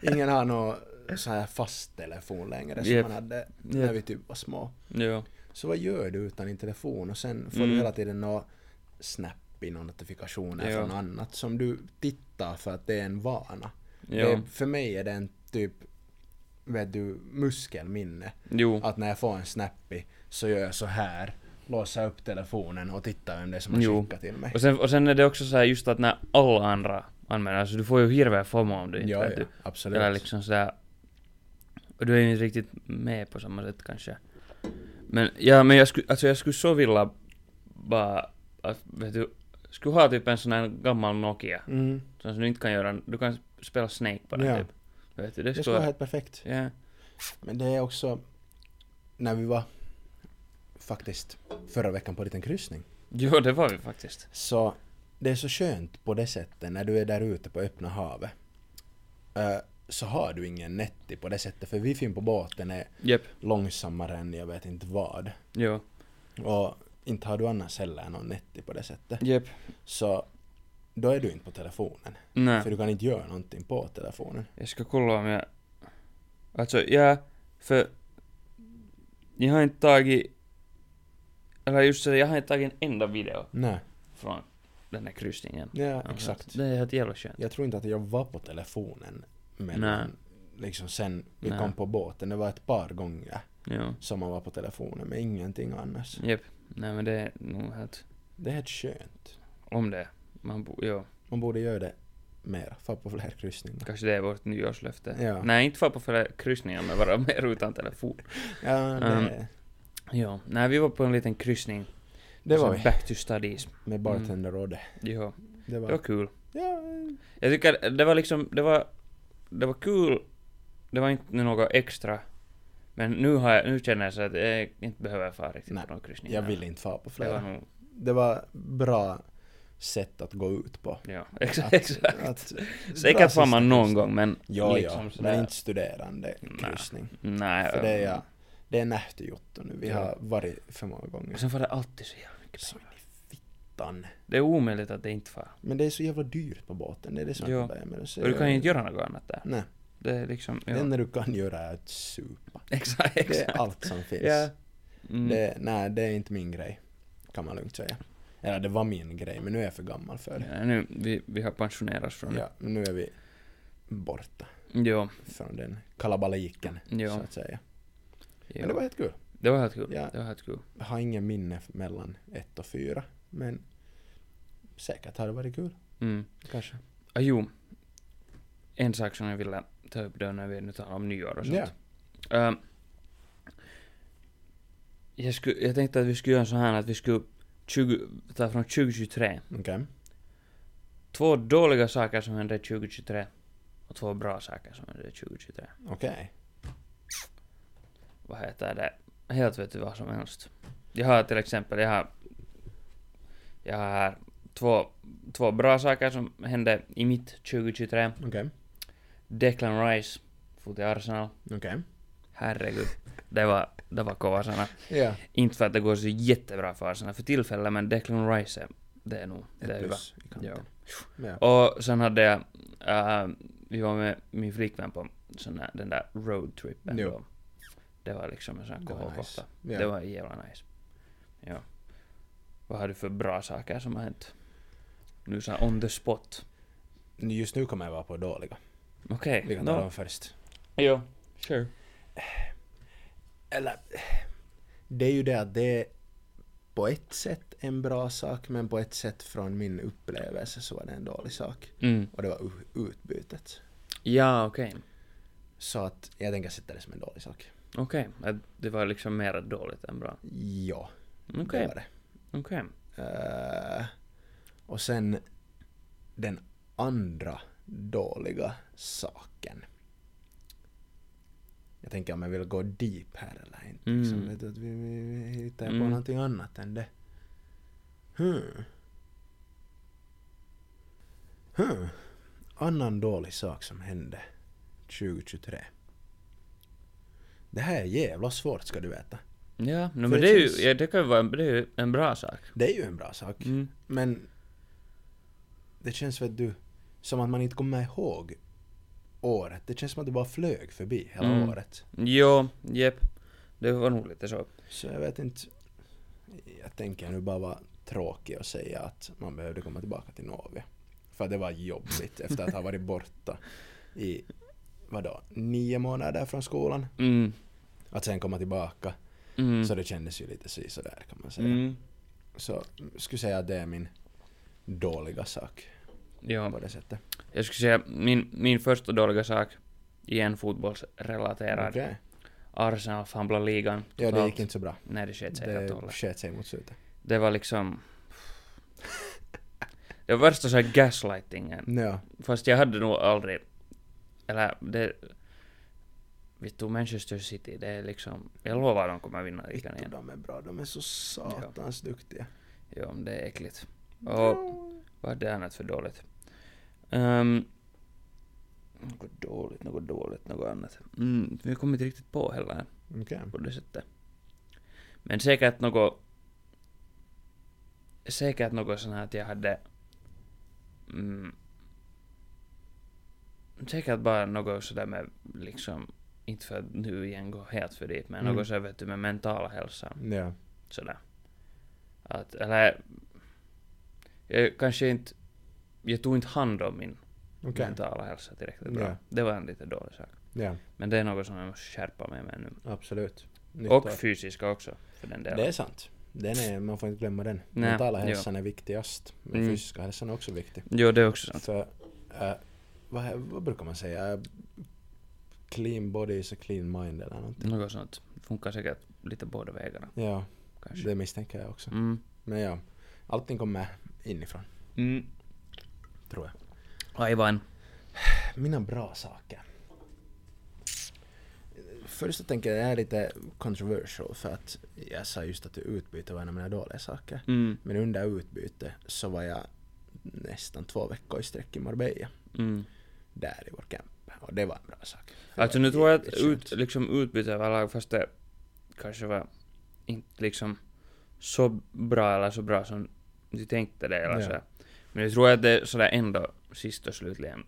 Speaker 2: Ingen har någon så här fast telefon längre som
Speaker 3: Jep.
Speaker 2: man hade när
Speaker 3: Jep.
Speaker 2: vi typ var små.
Speaker 3: Jo.
Speaker 2: Så vad gör du utan din telefon? Och sen får du
Speaker 3: Mm.
Speaker 2: hela tiden nå snappy, några notifikationer
Speaker 3: Ja.
Speaker 2: från annat som du tittar för att det är en vana.
Speaker 3: Jo.
Speaker 2: Det, för mig är det en typ, vet du, muskelminne.
Speaker 3: Jo.
Speaker 2: Att när jag får en snappy så gör jag så här, låser upp telefonen och tittar vem det är som har
Speaker 3: Jo.
Speaker 2: skickat till mig.
Speaker 3: Och sen, och sen är det också så här just att när alla andra använder, alltså du får ju hirveä FOMO om du inte
Speaker 2: Ja,
Speaker 3: vet
Speaker 2: ja,
Speaker 3: du.
Speaker 2: absolut.
Speaker 3: Eller liksom sådär... Och du är ju inte riktigt med på samma sätt kanske. Men, ja, men jag skulle, alltså jag skulle så vilja bara, att, vet du, skulle ha typ en sån här gammal Nokia.
Speaker 2: Mm.
Speaker 3: Sån som du inte kan göra, du kan spela Snake på den
Speaker 2: Ja.
Speaker 3: typ. Vet du, det
Speaker 2: Det skulle vara
Speaker 3: skulle...
Speaker 2: helt perfekt.
Speaker 3: Ja.
Speaker 2: Men det är också, när vi var faktiskt förra veckan på en liten kryssning.
Speaker 3: Jo, det var vi faktiskt.
Speaker 2: Så det är så skönt på det sättet när du är där ute på öppna havet. Eh, så har du ingen netti på det sättet för wifi på båten är
Speaker 3: Jep.
Speaker 2: långsammare än jag vet inte vad.
Speaker 3: Jo.
Speaker 2: Och inte har du annars heller någon netti på det sättet.
Speaker 3: Jep.
Speaker 2: Så då är du inte på telefonen.
Speaker 3: Nej.
Speaker 2: För du kan inte göra någonting på telefonen.
Speaker 3: Jag ska kolla om jag... Alltså, ja, för... Jag har inte tagit... Eller just det, jag har inte tagit en enda video
Speaker 2: Nej,
Speaker 3: från den här kryssningen.
Speaker 2: ja,
Speaker 3: Ja,
Speaker 2: exakt.
Speaker 3: Det är helt jävla skönt.
Speaker 2: Jag tror inte att jag var på telefonen. Men
Speaker 3: Nej.
Speaker 2: liksom sen vi
Speaker 3: Nej.
Speaker 2: kom på båten, det var ett par gånger
Speaker 3: Jo.
Speaker 2: som man var på telefonen men ingenting annars.
Speaker 3: Jep. Nej men det är nog helt...
Speaker 2: Det är helt skönt.
Speaker 3: Om det. Man bo... Jo.
Speaker 2: Man borde göra det mer, få på fler kryssningar.
Speaker 3: Kanske det är vårt nyårslöfte.
Speaker 2: Ja.
Speaker 3: Nej, inte fara på fler kryssningar men vara mer utan telefon.
Speaker 2: Ja,
Speaker 3: Um,
Speaker 2: det,
Speaker 3: Jo. Nej, vi var på en liten kryssning.
Speaker 2: det var
Speaker 3: Sen
Speaker 2: vi.
Speaker 3: Back to studies.
Speaker 2: alltså, Med
Speaker 3: Mm.
Speaker 2: bartender och det.
Speaker 3: Jo.
Speaker 2: Det
Speaker 3: Det var
Speaker 2: var...
Speaker 3: kul.
Speaker 2: Ja,
Speaker 3: Jag tycker det var liksom, det var, det var kul, det var inte något extra. Men nu har jag, nu känner jag så att jag inte behöver fara riktigt
Speaker 2: Nej,
Speaker 3: på någon kryssning.
Speaker 2: jag vill inte fara på
Speaker 3: Det var
Speaker 2: flera.
Speaker 3: nog,
Speaker 2: Det var bra sätt att gå ut på.
Speaker 3: ja, exakt.
Speaker 2: Att-
Speaker 3: exakt.
Speaker 2: att- bra
Speaker 3: Säkert far man
Speaker 2: sista
Speaker 3: någon
Speaker 2: kryssning.
Speaker 3: gång men
Speaker 2: Ja,
Speaker 3: liksom
Speaker 2: ja,
Speaker 3: sådär.
Speaker 2: men inte studerande kryssning.
Speaker 3: Nej.
Speaker 2: För det är, jag- det är nähtygjort nu. Vi
Speaker 3: Ja. Alltså,
Speaker 2: har varit för många gånger.
Speaker 3: Och sen var det alltid så jävla mycket
Speaker 2: Så
Speaker 3: pengar.
Speaker 2: in i fittan.
Speaker 3: Det är omöjligt att det inte far.
Speaker 2: Men det är så jävla dyrt på båten, det är det som är
Speaker 3: Ja.
Speaker 2: problemet.
Speaker 3: Och du kan ju inte göra något annat där.
Speaker 2: Nej.
Speaker 3: Det är liksom,
Speaker 2: Det enda du kan göra är att supa.
Speaker 3: Exakt,
Speaker 2: Det
Speaker 3: exakt.
Speaker 2: är allt som finns.
Speaker 3: Ja. Mm.
Speaker 2: Det, nej, det är inte min grej, kan man lugnt säga. Eller det var min grej, men nu är jag för gammal för det.
Speaker 3: Ja, nu, vi, vi har pensionerats från det.
Speaker 2: Ja, nu är vi borta
Speaker 3: Jo,
Speaker 2: från den kalabaliken,
Speaker 3: Ja.
Speaker 2: så att säga.
Speaker 3: jo.
Speaker 2: Men det var helt kul.
Speaker 3: det var helt kul.
Speaker 2: Ja.
Speaker 3: Det var helt kul.
Speaker 2: Jag har ingen minne mellan ett och fyra, men säkert har det varit kul.
Speaker 3: Mm.
Speaker 2: Kanske.
Speaker 3: Ah, jo. En sak som jag ville ta upp då när vi nu talar om nyår och sånt.
Speaker 2: Ja.
Speaker 3: Ehm, jag, skulle, jag tänkte att vi skulle göra så här att vi skulle 20, ta från 2023.
Speaker 2: Okej.
Speaker 3: Två dåliga saker som hände 2023 och två bra saker som hände 2023.
Speaker 2: Okej.
Speaker 3: Vad heter det? Helt vet du vad som helst. Jag har till exempel, jag har, jag har här två, två bra saker som hände i mitt 2023.
Speaker 2: Okej.
Speaker 3: Declan Rice, for till Arsenal.
Speaker 2: Okej.
Speaker 3: Herregud. Det var, det var kova sana.
Speaker 2: Ja.
Speaker 3: Inte för att det går så jättebra för Arsenal för tillfället, men Declan Rice, är- det är nog, det
Speaker 2: Ett
Speaker 3: är hyvä.
Speaker 2: plus i kanten. Ja.
Speaker 3: Och sen hade jag, äh, vi var med min flickvän på sån där, den där roadtrippen
Speaker 2: Jo.
Speaker 3: då. Det var liksom en sån här
Speaker 2: Det var
Speaker 3: kohokohta.
Speaker 2: nice. Ja.
Speaker 3: Det var jävla nice. Ja. Vad har du för bra saker som har hänt? Nu så här on the spot.
Speaker 2: Just nu kommer jag vara på dåliga.
Speaker 3: Okej.
Speaker 2: Vi kan ta
Speaker 3: No.
Speaker 2: dem först.
Speaker 3: Jo. Sure.
Speaker 2: Eller, det är ju det att det är på ett sätt en bra sak, men på ett sätt från min upplevelse så var det en dålig sak.
Speaker 3: Mm.
Speaker 2: Och det var u- utbytet.
Speaker 3: Ja, okej.
Speaker 2: Så att jag tänker sätta det som en dålig sak.
Speaker 3: Okej. Att Det var liksom mer dåligt än bra.
Speaker 2: Ja,
Speaker 3: Okej.
Speaker 2: det var det.
Speaker 3: Okej.
Speaker 2: Eh, och sen den andra dåliga saken. Jag tänker om jag vill gå deep här eller inte. Liksom,
Speaker 3: Mm.
Speaker 2: vet du, att vi, vi, vi hittar på
Speaker 3: Mm.
Speaker 2: någonting annat än det. Hmm. Hmm. Annan dålig sak som hände 2023. Det här är jävla svårt ska du veta.
Speaker 3: Ja, no,
Speaker 2: För
Speaker 3: men
Speaker 2: det
Speaker 3: det är
Speaker 2: känns-
Speaker 3: ju, ja, det kan ju vara en, det är ju en bra sak.
Speaker 2: Det är ju en bra sak.
Speaker 3: Mm.
Speaker 2: Men det känns väl du, som att man inte kommer ihåg året. Det känns som att det bara flög förbi hela
Speaker 3: Mm.
Speaker 2: året.
Speaker 3: Jo, jep. Det var nog lite så.
Speaker 2: Så jag vet inte. Jag tänker nu bara vara tråkig och säga att man behövde komma tillbaka till Norge. För det var jobbigt efter att ha varit borta i, vadå, nio månader från skolan.
Speaker 3: Mm.
Speaker 2: Att sen komma tillbaka.
Speaker 3: Mm.
Speaker 2: Så det kändes ju lite si- sådär kan man säga.
Speaker 3: Mm.
Speaker 2: Så skulle säga att det är min dåliga sak
Speaker 3: Ja.
Speaker 2: på det sättet.
Speaker 3: Jag skulle säga min, min första dåliga sak, igen fotbollsrelaterad.
Speaker 2: Okej.
Speaker 3: Arsenal famblade ligan.
Speaker 2: Ja, det
Speaker 3: totalt.
Speaker 2: gick inte så bra.
Speaker 3: Nej, det sket sig helt och
Speaker 2: Det
Speaker 3: hållet.
Speaker 2: sket sig mot slutet.
Speaker 3: Det var liksom... Det var värsta så här gaslightingen.
Speaker 2: Ja.
Speaker 3: Fast jag hade nog aldrig... Eller det... Vi tog Manchester City, det är liksom... Jag lovar att de kommer vinna ligan
Speaker 2: Vittu,
Speaker 3: igen.
Speaker 2: de är bra. De är så satans duktiga.
Speaker 3: Jo, det är äckligt. Och vad är det annat för dåligt? Ehm, något dåligt, något dåligt, något annat. Mm, vi kommer inte riktigt på heller
Speaker 2: Okej.
Speaker 3: på det sättet. Men säkert något... Säkert något sånt här att jag hade... Mm, säkert bara något sådär med liksom... Inte för att nu igen gå helt för dit, men
Speaker 2: Mm.
Speaker 3: något sådär vet du med mentala hälsan
Speaker 2: Ja.
Speaker 3: sådär. Att, eller... Jag kanske inte... Jag tog inte hand om min
Speaker 2: Okej.
Speaker 3: mentala hälsa tillräckligt bra.
Speaker 2: Ja.
Speaker 3: Det var en lite dålig sak.
Speaker 2: Ja,
Speaker 3: Men det är något som jag måste skärpa mig med nu.
Speaker 2: absolut. Nytt år.
Speaker 3: Och fysiska också, för den delen.
Speaker 2: Det är sant. Den är, man får inte glömma den.
Speaker 3: Nej,
Speaker 2: Mentala
Speaker 3: jo.
Speaker 2: hälsan är viktigast. Men
Speaker 3: Mm. Alltså.
Speaker 2: fysiska hälsan är också viktig.
Speaker 3: Jo, det är också sant.
Speaker 2: För, äh, vad, vad brukar man säga? Äh, Clean body is a clean mind eller någonting.
Speaker 3: Något sånt. Funkar säkert lite båda vägarna,
Speaker 2: Ja,
Speaker 3: kanske.
Speaker 2: det misstänker jag också.
Speaker 3: Mm.
Speaker 2: Men ja, allting kommer inifrån,
Speaker 3: Mm.
Speaker 2: tror jag.
Speaker 3: Aivan.
Speaker 2: Mina bra saker. Först så tänker jag det här är lite controversial för att jag sa just att utbyte var en av mina dåliga saker.
Speaker 3: Mm.
Speaker 2: Men under utbyte så var jag nästan två veckor i sträck i Marbella.
Speaker 3: Mm.
Speaker 2: Där i vår camp. Och det var en bra sak. Det
Speaker 3: Alltså
Speaker 2: var
Speaker 3: nu tror jag att
Speaker 2: jävligt skönt.
Speaker 3: ut, liksom utbyte överlag, fast det kanske var inte liksom så bra eller så bra som du tänkte det eller
Speaker 2: Ja.
Speaker 3: så. Men jag tror att det är sådär ändå sist och slutligen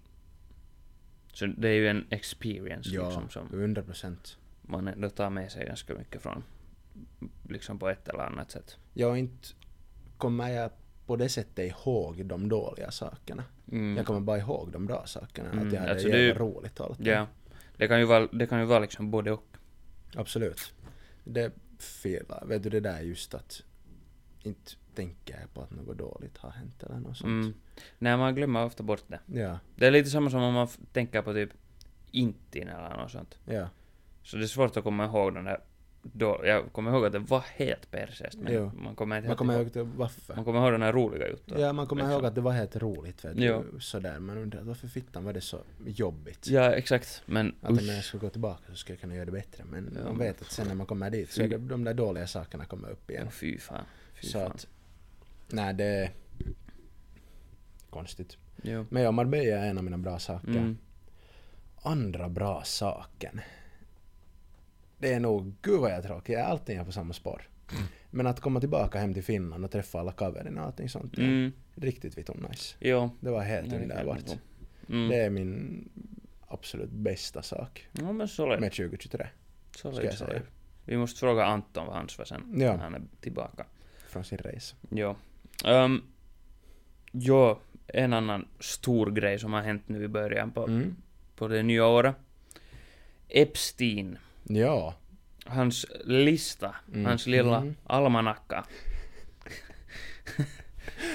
Speaker 3: liksom. Så det är ju en experience
Speaker 2: Ja,
Speaker 3: liksom som
Speaker 2: 100 procent.
Speaker 3: man ändå tar med sig ganska mycket från. Liksom på ett eller annat sätt.
Speaker 2: Jag inte kommer jag på det sättet ihåg de dåliga sakerna.
Speaker 3: Mm.
Speaker 2: Jag kommer bara ihåg de bra sakerna.
Speaker 3: Mm,
Speaker 2: Att jag hade
Speaker 3: alltså det är
Speaker 2: jävla
Speaker 3: ju-
Speaker 2: roligt och allt.
Speaker 3: Ja. Det kan ju vara, det kan ju vara liksom både och.
Speaker 2: Absolut. Det felar. Vet du det där just att inte tänka på att något dåligt har hänt eller något sånt.
Speaker 3: Mm. Nej, man glömmer ofta bort det.
Speaker 2: Ja,
Speaker 3: Det är lite samma som om man f- tänker på typ intin eller något sånt.
Speaker 2: ja.
Speaker 3: Så det är svårt att komma ihåg den där då, jag kommer ihåg att det var helt persiskt, men
Speaker 2: Jo.
Speaker 3: man kommer inte
Speaker 2: Man kommer
Speaker 3: ihåg,
Speaker 2: ihåg det, varför.
Speaker 3: man kommer ihåg den här roliga juttan.
Speaker 2: Ja, man kommer
Speaker 3: liksom.
Speaker 2: ihåg att det var helt roligt vet
Speaker 3: Ja.
Speaker 2: du. Sådär. Man undrar varför fittan var det så jobbigt?
Speaker 3: Ja, exakt. Men
Speaker 2: Att om
Speaker 3: usch.
Speaker 2: jag skulle gå tillbaka så skulle jag kunna göra det bättre. Men
Speaker 3: Ja,
Speaker 2: man
Speaker 3: men
Speaker 2: vet att sen när man kommer dit så är det, de där dåliga sakerna kommer upp igen.
Speaker 3: Ja, fy fan. Fy
Speaker 2: Så
Speaker 3: fan.
Speaker 2: att, nej det är konstigt.
Speaker 3: Jo.
Speaker 2: Men ja, Marbella är en av mina bra saker.
Speaker 3: Mm.
Speaker 2: Andra bra saken. Det är nog, gud vad jag är tråkig, jag är alltid inne på samma spår. Men att komma tillbaka hem till Finland och träffa alla kaverna och allting sånt. det är
Speaker 3: Mm.
Speaker 2: Riktigt vittum nice.
Speaker 3: Jo.
Speaker 2: Det var helt
Speaker 3: Ja, det kan jag
Speaker 2: underbart.
Speaker 3: förstå. Mm.
Speaker 2: Det är min absolut bästa sak
Speaker 3: Ja, men så lät
Speaker 2: med 2023.
Speaker 3: så
Speaker 2: ska jag
Speaker 3: lät så
Speaker 2: säga.
Speaker 3: lät. Vi måste fråga Anton vad hans var sen,
Speaker 2: Ja.
Speaker 3: när han är tillbaka.
Speaker 2: Från sin resa.
Speaker 3: Jo. Um, jo, en annan stor grej som har hänt nu i början på,
Speaker 2: Mm.
Speaker 3: på det nya året. Epstein,
Speaker 2: Ja.
Speaker 3: hans lista,
Speaker 2: Mm.
Speaker 3: hans lilla
Speaker 2: Mm.
Speaker 3: almanacka.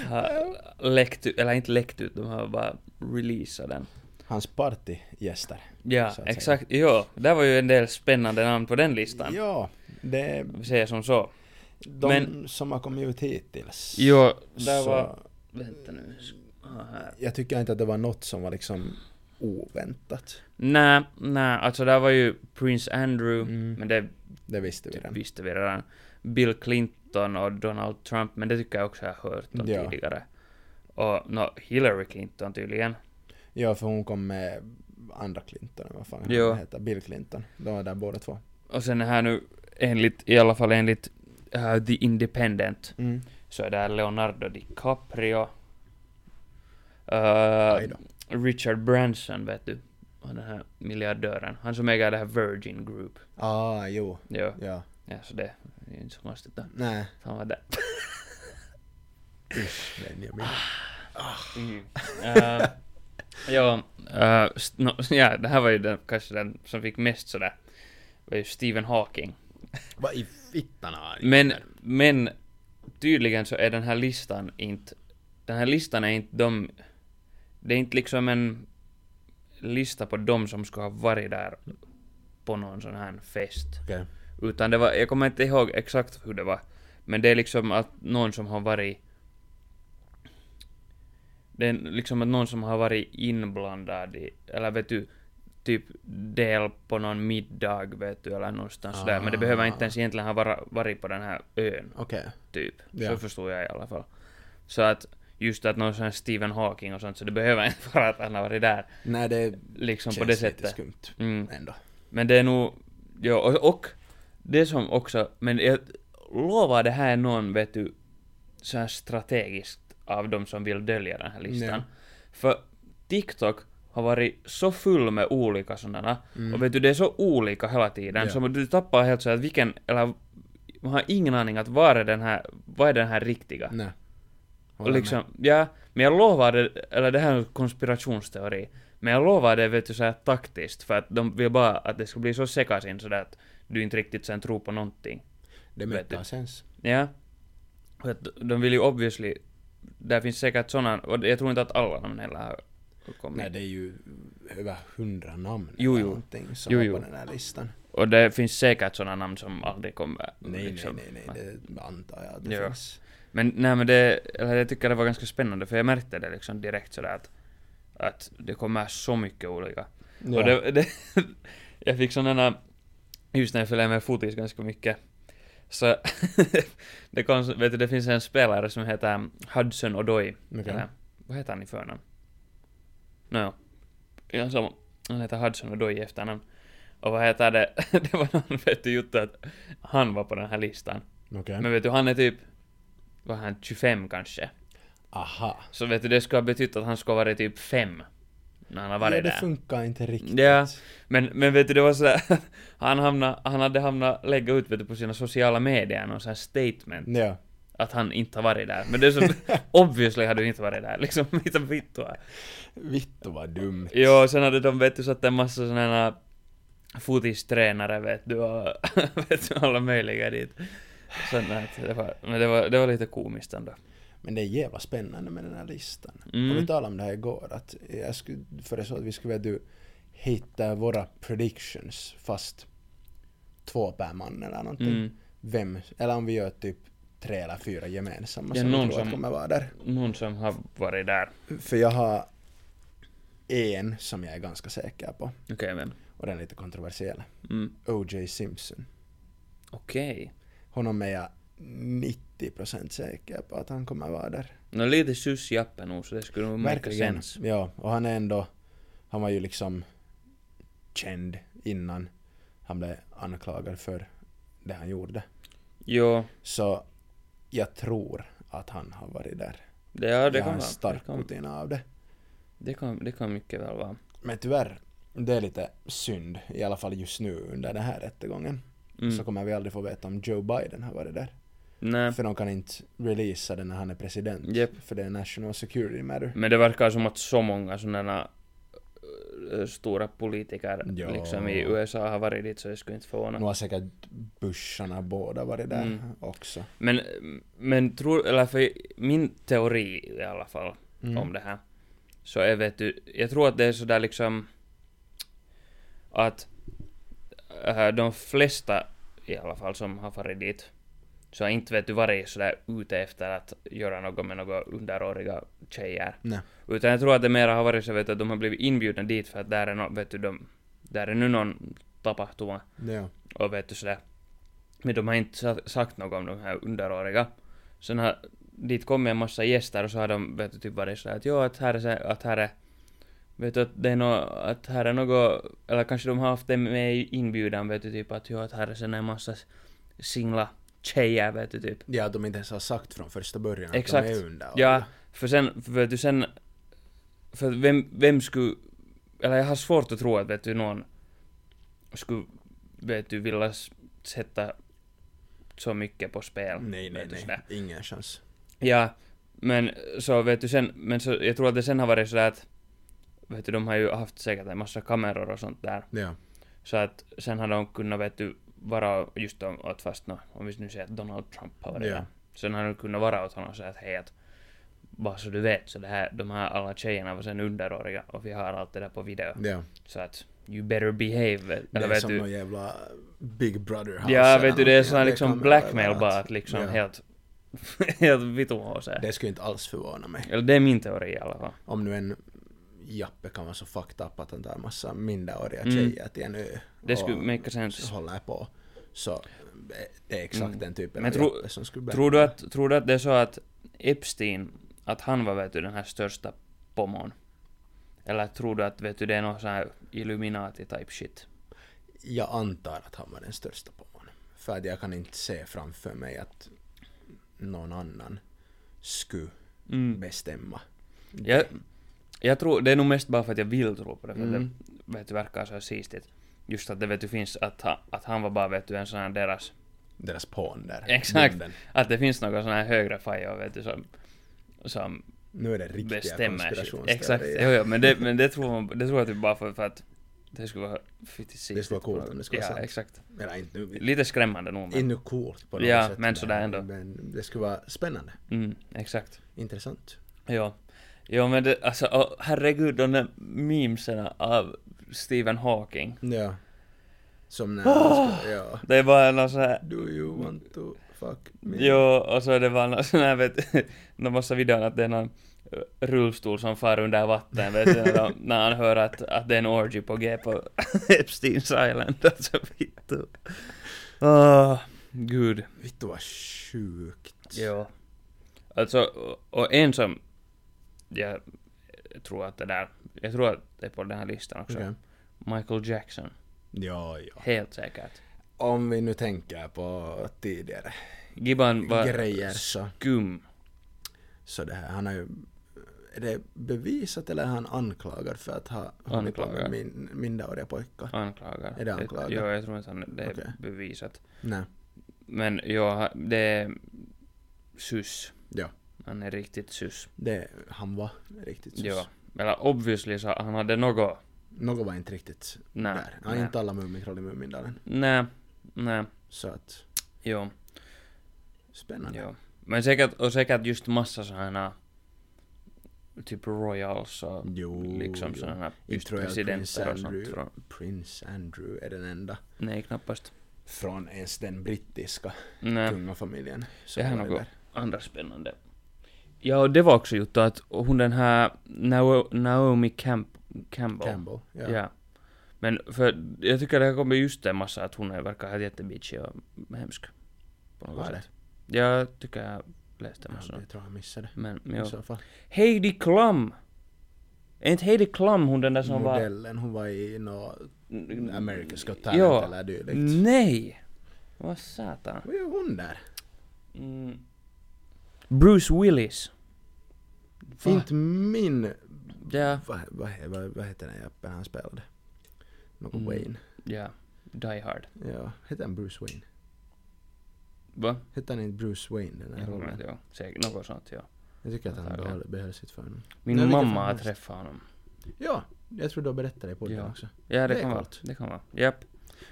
Speaker 3: har läckt ut, eller inte läckt ut, de har bara releasat den.
Speaker 2: Hans partygäster.
Speaker 3: Ja,
Speaker 2: Så att säga.
Speaker 3: exakt. Jo, där var ju en del spännande namn på den listan.
Speaker 2: Ja, det är
Speaker 3: Vi säger som så.
Speaker 2: de
Speaker 3: Men-
Speaker 2: som har kommit ut hittills.
Speaker 3: Jo, där
Speaker 2: så
Speaker 3: var... Vänta nu. Ah, här.
Speaker 2: Jag tycker inte att det var något som var liksom oväntat.
Speaker 3: Nej, nej, alltså där var ju Prince Andrew,
Speaker 2: Mm.
Speaker 3: men det
Speaker 2: Det visste vi
Speaker 3: typ
Speaker 2: redan.
Speaker 3: visste vi redan. Bill Clinton och Donald Trump, men det tycker jag också jag har hört om
Speaker 2: Ja.
Speaker 3: tidigare. Och no, Hillary Clinton tydligen.
Speaker 2: Ja, för hon kom med andra Clinton, vad fan
Speaker 3: Jo.
Speaker 2: han heter, Bill Clinton. De var där båda två.
Speaker 3: Och sen här nu, enligt, i alla fall enligt eh, The Independent,
Speaker 2: Mm.
Speaker 3: så är det här Leonardo DiCaprio.
Speaker 2: Aj
Speaker 3: eh,
Speaker 2: då.
Speaker 3: Richard Branson, vet du. Och den här miljardören. Han som äger det här Virgin Group.
Speaker 2: Ah, jo.
Speaker 3: Jo,
Speaker 2: Ja.
Speaker 3: ja, så det är inte så konstigt då.
Speaker 2: Nej.
Speaker 3: Han var där.
Speaker 2: Usch, Benjamin.
Speaker 3: Mm. Eh, ja, eh, st- no, ja, det här var ju den, kanske den som fick mest sådär. Det var ju Stephen Hawking.
Speaker 2: Vad i fittan har han
Speaker 3: Men,
Speaker 2: gjort?
Speaker 3: men tydligen så är den här listan inte... Den här listan är inte de... Det är inte liksom en lista på de som ska ha varit där på någon sån här fest.
Speaker 2: Okej.
Speaker 3: Utan det var, jag kommer inte ihåg exakt hur det var. Men det är liksom att någon som har varit... Det är liksom att någon som har varit inblandad i, eller vet du, typ del på någon middag vet du, eller någonstans där. Men det behöver inte ens egentligen ha vara, varit på den här ön,
Speaker 2: Okej.
Speaker 3: typ.
Speaker 2: Ja.
Speaker 3: Så förstod jag i alla fall. Så att, just att någon sån här Stephen Hawking och sånt, så det behöver inte vara att han har varit där,
Speaker 2: Nej, det
Speaker 3: liksom
Speaker 2: känns
Speaker 3: på det
Speaker 2: lite
Speaker 3: sättet.
Speaker 2: skumt
Speaker 3: Mm.
Speaker 2: ändå.
Speaker 3: Men det är nog, ja, och, och det som också, men jag lovar det här är någon, vet du, så här strategiskt av de som vill dölja den här listan.
Speaker 2: Nej.
Speaker 3: För TikTok har varit så full med olika sådana, och vet du, det är så olika hela tiden,
Speaker 2: Ja.
Speaker 3: så du tappar helt så att vilken, eller man har ingen aning att var är den här, vad är den här riktiga?
Speaker 2: Nej.
Speaker 3: Och liksom, ja, men jag lovade, eller det här är en konspirationsteori, men jag lovade vet du såhär taktiskt för att de vill bara att det ska bli så sekasin sådär att du inte riktigt sen tror på någonting.
Speaker 2: Det
Speaker 3: vet du.
Speaker 2: make sens.
Speaker 3: Ja. Och att de vill ju obviously, där finns säkert sådana, och jag tror inte att alla namn heller har kommit.
Speaker 2: Nej, det är ju över hundra namn
Speaker 3: Jo,
Speaker 2: eller
Speaker 3: jo.
Speaker 2: någonting som
Speaker 3: Jo,
Speaker 2: var
Speaker 3: jo.
Speaker 2: på den här listan.
Speaker 3: Och det finns säkert sådana namn som aldrig kommer.
Speaker 2: Nej,
Speaker 3: liksom.
Speaker 2: nej, nej, nej, det antar jag att det
Speaker 3: Ja.
Speaker 2: finns.
Speaker 3: Men nej men det, eller jag tycker det var ganska spännande för jag märkte det liksom direkt sådär att, att det kommer så mycket olika.
Speaker 2: Ja.
Speaker 3: Och det, det, jag fick sådana, just när jag följer med fotis ganska mycket, så det, kom, vet du, det finns en spelare som heter Hudson Odoi.
Speaker 2: Okej.
Speaker 3: Eller, vad heter han i förnamn? Nåja, ja, samma. Han heter Hudson Odoi i efternamn. Och vad heter det, det var någon vet du Jutta att han var på den här listan.
Speaker 2: Okej.
Speaker 3: Men vet du, han är typ, vad är han, 25 kanske?
Speaker 2: Aha.
Speaker 3: Så vet du, det ska ha betytt att han ska ha varit typ fem när han har varit
Speaker 2: ja, det
Speaker 3: där.
Speaker 2: funkar inte riktigt.
Speaker 3: Ja, men, men vet du, det var så här, han, hamna, han hade hamnat lägga ut vet du, på sina sociala medier någon sån här statement
Speaker 2: Ja.
Speaker 3: att han inte har varit där. Men det är så, obviously har du inte varit där liksom, mitä vittua.
Speaker 2: Vittu vad dumt.
Speaker 3: Jo, sen hade de vet du satt en massa såna här futistränare vet du och vet du, alla möjliga dit. Sen, att det, var, men det, var, det var lite komiskt ändå.
Speaker 2: Men det är jävla spännande med den här listan.
Speaker 3: Mm.
Speaker 2: Och vi talade om det här igår, att jag skulle föreslå att vi skulle vilja att du hittar våra predictions fast två per man eller någonting.
Speaker 3: Mm.
Speaker 2: Vem, eller om vi gör typ tre eller fyra gemensamma
Speaker 3: Ja,
Speaker 2: som vi
Speaker 3: någon
Speaker 2: tror att
Speaker 3: som-
Speaker 2: kommer vara där.
Speaker 3: Någon som har varit där.
Speaker 2: För jag har en som jag är ganska säker på
Speaker 3: Okej, men.
Speaker 2: och den är lite kontroversiell.
Speaker 3: Mm.
Speaker 2: O.J. Simpson.
Speaker 3: Okej.
Speaker 2: Honom är jag 90% säker på att han kommer vara där.
Speaker 3: Nå lite susjappe nog, så det skulle nog märka
Speaker 2: Verkligen.
Speaker 3: sens.
Speaker 2: Ja, och han är ändå, han var ju liksom känd innan han blev anklagad för det han gjorde.
Speaker 3: Jo,
Speaker 2: Så jag tror att han har varit där.
Speaker 3: det, ja, det
Speaker 2: jag har
Speaker 3: kan
Speaker 2: en
Speaker 3: vara. Det
Speaker 2: stark
Speaker 3: kan,
Speaker 2: rutin av det.
Speaker 3: det, kan, det kan mycket väl vara.
Speaker 2: Men tyvärr, det är lite synd, i alla fall just nu under den här rättegången.
Speaker 3: Mm.
Speaker 2: Så kommer vi aldrig få veta om Joe Biden har varit där.
Speaker 3: Nej.
Speaker 2: För de kan inte releasa den när han är president.
Speaker 3: Japp. Mm.
Speaker 2: För det är national security matter.
Speaker 3: Men det verkar som att så många sådana eh, stora politiker
Speaker 2: Ja.
Speaker 3: liksom i USA har varit dit så jag skulle inte förvåna.
Speaker 2: Nu har säkert Busharna båda varit där
Speaker 3: Mm.
Speaker 2: också.
Speaker 3: Men, men tror, eller för min teori i alla fall
Speaker 2: Mm.
Speaker 3: om det här, så är vet du, jag tror att det är sådär liksom att äh, de flesta i alla fall som har farit dit, så har inte vet du varit sådär ute efter att göra något med några underåriga tjejer.
Speaker 2: Nej.
Speaker 3: Utan jag tror att det mera har varit så vet du, att de har blivit inbjudna dit för att där är, no, vet du, de, där är nu någon tapahtuma
Speaker 2: Ja.
Speaker 3: och vet du sådär. Men de har inte sa- sagt något om de här underåriga. Sen har dit kommit en massa gäster och så har de vet du typ varit sådär att jo att här är så- att här är Vet du att det är något, att här är något, eller kanske de har haft det med i inbjudan vet du typ att jo att här är sen en massa singla tjejer vet du typ.
Speaker 2: ja, att de inte ens har sagt från första början
Speaker 3: Exakt.
Speaker 2: att de är under.
Speaker 3: Ja, för sen, för vet du sen, för vem, vem skulle, eller jag har svårt att tro att vet du någon skulle, vet du, vilja s- sätta så mycket på spel.
Speaker 2: Nej, nej,
Speaker 3: vet du,
Speaker 2: nej.
Speaker 3: sådär.
Speaker 2: Ingen chans.
Speaker 3: Ja, men så vet du sen, men så, jag tror att det sen har varit sådär att, vet du, de har ju haft säkert en massa kameror och sånt där.
Speaker 2: Ja.
Speaker 3: Så att sen har de kunnat vet du, vara just om, åt fast nå, om vi nu säger att Donald Trump har varit
Speaker 2: Ja.
Speaker 3: där. Sen har de kunnat vara åt honom och säga att hej att bara så du vet så det här, de här alla tjejerna var sen underåriga och vi har allt det där på video.
Speaker 2: ja.
Speaker 3: Så att you better behave.
Speaker 2: Det
Speaker 3: Eller
Speaker 2: är
Speaker 3: vet
Speaker 2: som någon
Speaker 3: du,
Speaker 2: jävla Big Brother house.
Speaker 3: ja
Speaker 2: eller
Speaker 3: vet du det är
Speaker 2: någonting.
Speaker 3: sån här liksom
Speaker 2: kameror
Speaker 3: blackmail bara
Speaker 2: överallt.
Speaker 3: att liksom
Speaker 2: Ja.
Speaker 3: helt helt vituhåsig.
Speaker 2: Det skulle inte alls förvåna mig.
Speaker 3: Eller det är min teori i alla fall.
Speaker 2: Om nu en Jappe kan vara så fucked up att han tar massa minderåriga
Speaker 3: Mm.
Speaker 2: tjejer till en ö.
Speaker 3: Det
Speaker 2: och
Speaker 3: skulle make sense.
Speaker 2: håller på. Så eh, det är exakt
Speaker 3: Mm.
Speaker 2: den typen
Speaker 3: Men
Speaker 2: av
Speaker 3: tro-
Speaker 2: Jappe som skulle bli
Speaker 3: Tror du, att, tror du att det är så att Epstein, att han var vet du den här största pomon? Eller tror du att vet du det är någon sån här Illuminati type shit?
Speaker 2: Jag antar att han var den största på honom. För att jag kan inte se framför mig att någon annan skulle
Speaker 3: Mm.
Speaker 2: bestämma.
Speaker 3: Jag, jag tror, det är nog mest bara för att jag vill tro på det, för att
Speaker 2: Mm.
Speaker 3: det vet du verkar så här sistigt. Just att det vet du finns att, ha, att han var bara vet du en sån här deras,
Speaker 2: Deras pån där.
Speaker 3: Exakt.
Speaker 2: Bonden.
Speaker 3: att det finns någon sån här högre fajo vet du som, som
Speaker 2: Nu är det riktiga
Speaker 3: bestämmer shit.
Speaker 2: konspirationsteorier.
Speaker 3: Exakt, jo, jo, men det, men det tror man, det tror jag typ bara för, för att det skulle vara fittigt
Speaker 2: Det skulle
Speaker 3: sistigt
Speaker 2: vara coolt
Speaker 3: på-
Speaker 2: om det skulle
Speaker 3: Ja,
Speaker 2: vara sant.
Speaker 3: exakt.
Speaker 2: Eller inte nu.
Speaker 3: Lite skrämmande nog men.
Speaker 2: Ännu coolt på något
Speaker 3: Ja,
Speaker 2: sätt.
Speaker 3: men sådär ändå.
Speaker 2: Men det skulle vara spännande.
Speaker 3: Mm, exakt.
Speaker 2: Intressant.
Speaker 3: Ja. Ja men det, alltså åh, herregud de där memesen av Stephen Hawking.
Speaker 2: Ja. Som när
Speaker 3: Ah!
Speaker 2: han ska, ja.
Speaker 3: Det är bara någon sån här,
Speaker 2: Do you want to fuck me?
Speaker 3: jo och så är det bara någon sån här vet du, de måste videon att det är någon eh, rullstol som far under vatten vet du, när, de, när han hör att, att det är en orgy på G på Epstein's Island. Alltså vittu. Åh, gud.
Speaker 2: Vittu vad sjukt.
Speaker 3: Ja. Alltså, och- och en som jag tror att det där, jag tror att det är på den här listan också.
Speaker 2: Okej.
Speaker 3: Michael Jackson.
Speaker 2: Ja, ja.
Speaker 3: Helt säkert.
Speaker 2: Om vi nu tänker på tidigare
Speaker 3: Gibban var
Speaker 2: grejer så,
Speaker 3: skum.
Speaker 2: så det här, han har ju är det bevisat eller är han anklagad för att ha hunnit på med
Speaker 3: Anklagad.
Speaker 2: min, minderåriga pojkar?
Speaker 3: Anklagar.
Speaker 2: Är det
Speaker 3: Jag-
Speaker 2: anklagar?
Speaker 3: Joo, jag tror inte han, det är
Speaker 2: Okej.
Speaker 3: bevisat.
Speaker 2: Nej.
Speaker 3: Men joo, ha- det är sys.
Speaker 2: Ja.
Speaker 3: Han är riktigt sys.
Speaker 2: Det, han var riktigt sus.
Speaker 3: Joo. Eller obviously så han hade något.
Speaker 2: Något var inte riktigt
Speaker 3: Nej.
Speaker 2: där. Ja,
Speaker 3: nej.
Speaker 2: Inte alla Mumintroll i Mumindalen.
Speaker 3: Nej. Nej.
Speaker 2: Så att,
Speaker 3: Joo.
Speaker 2: spännande.
Speaker 3: Joo. Men säkert, och säkert just massa sådana typ royals och
Speaker 2: Jo,
Speaker 3: liksom
Speaker 2: Oh, jo.
Speaker 3: sådana
Speaker 2: Inte
Speaker 3: just
Speaker 2: tror jag att Prince
Speaker 3: presidenter och sånt.
Speaker 2: Andrew-
Speaker 3: Från,
Speaker 2: Prince Andrew är den enda
Speaker 3: nej, knappast.
Speaker 2: från ens den brittiska
Speaker 3: Nej,
Speaker 2: kungafamiljen.
Speaker 3: det här är
Speaker 2: var
Speaker 3: något
Speaker 2: där.
Speaker 3: andra spännande. Ja, och det var också juttu att hon den här Nao- Naomi Camp, Campbell.
Speaker 2: Campbell. Ja.
Speaker 3: ja. Men för jag tycker det har kommit just en massa att hon är- verkar helt jättebitchig och hemsk. På något
Speaker 2: Var det?
Speaker 3: sätt. Jag tycker jag läste en
Speaker 2: Ja,
Speaker 3: massa.
Speaker 2: det tror jag missade.
Speaker 3: Men,
Speaker 2: I
Speaker 3: jo.
Speaker 2: så fall.
Speaker 3: Heidi Klum! Är inte Heidi Klum Alltså, hon den där som var... Mm.
Speaker 2: Modellen, hon var i nå Mm, America's Got Talent
Speaker 3: Ja. Mm.
Speaker 2: eller dylikt.
Speaker 3: Nej! Vad satan.
Speaker 2: Vad är hon där?
Speaker 3: Mm. Bruce Willis. Va?
Speaker 2: Inte min...
Speaker 3: Ja.
Speaker 2: Vad vad vad- vad heter den jäppen han spelade? Någon
Speaker 3: Mm.
Speaker 2: Wayne.
Speaker 3: Ja. Die Hard.
Speaker 2: Ja, heter han Bruce Wayne?
Speaker 3: Va?
Speaker 2: Hette han inte Bruce Wayne den
Speaker 3: Jag
Speaker 2: här
Speaker 3: kommer inte
Speaker 2: rollen?
Speaker 3: ihåg. Säkert något sånt, ja.
Speaker 2: Jag tycker att han
Speaker 3: Antagligen.
Speaker 2: behöll- behöll sitt förnamn.
Speaker 3: Min
Speaker 2: Nej, vilken
Speaker 3: mamma
Speaker 2: fan
Speaker 3: har
Speaker 2: helst.
Speaker 3: träffat honom.
Speaker 2: Ja, jag tror du har berättat det i podden
Speaker 3: Ja.
Speaker 2: också.
Speaker 3: Ja,
Speaker 2: Det
Speaker 3: det,
Speaker 2: är
Speaker 3: kan vara.
Speaker 2: coolt.
Speaker 3: Det kan vara. Japp.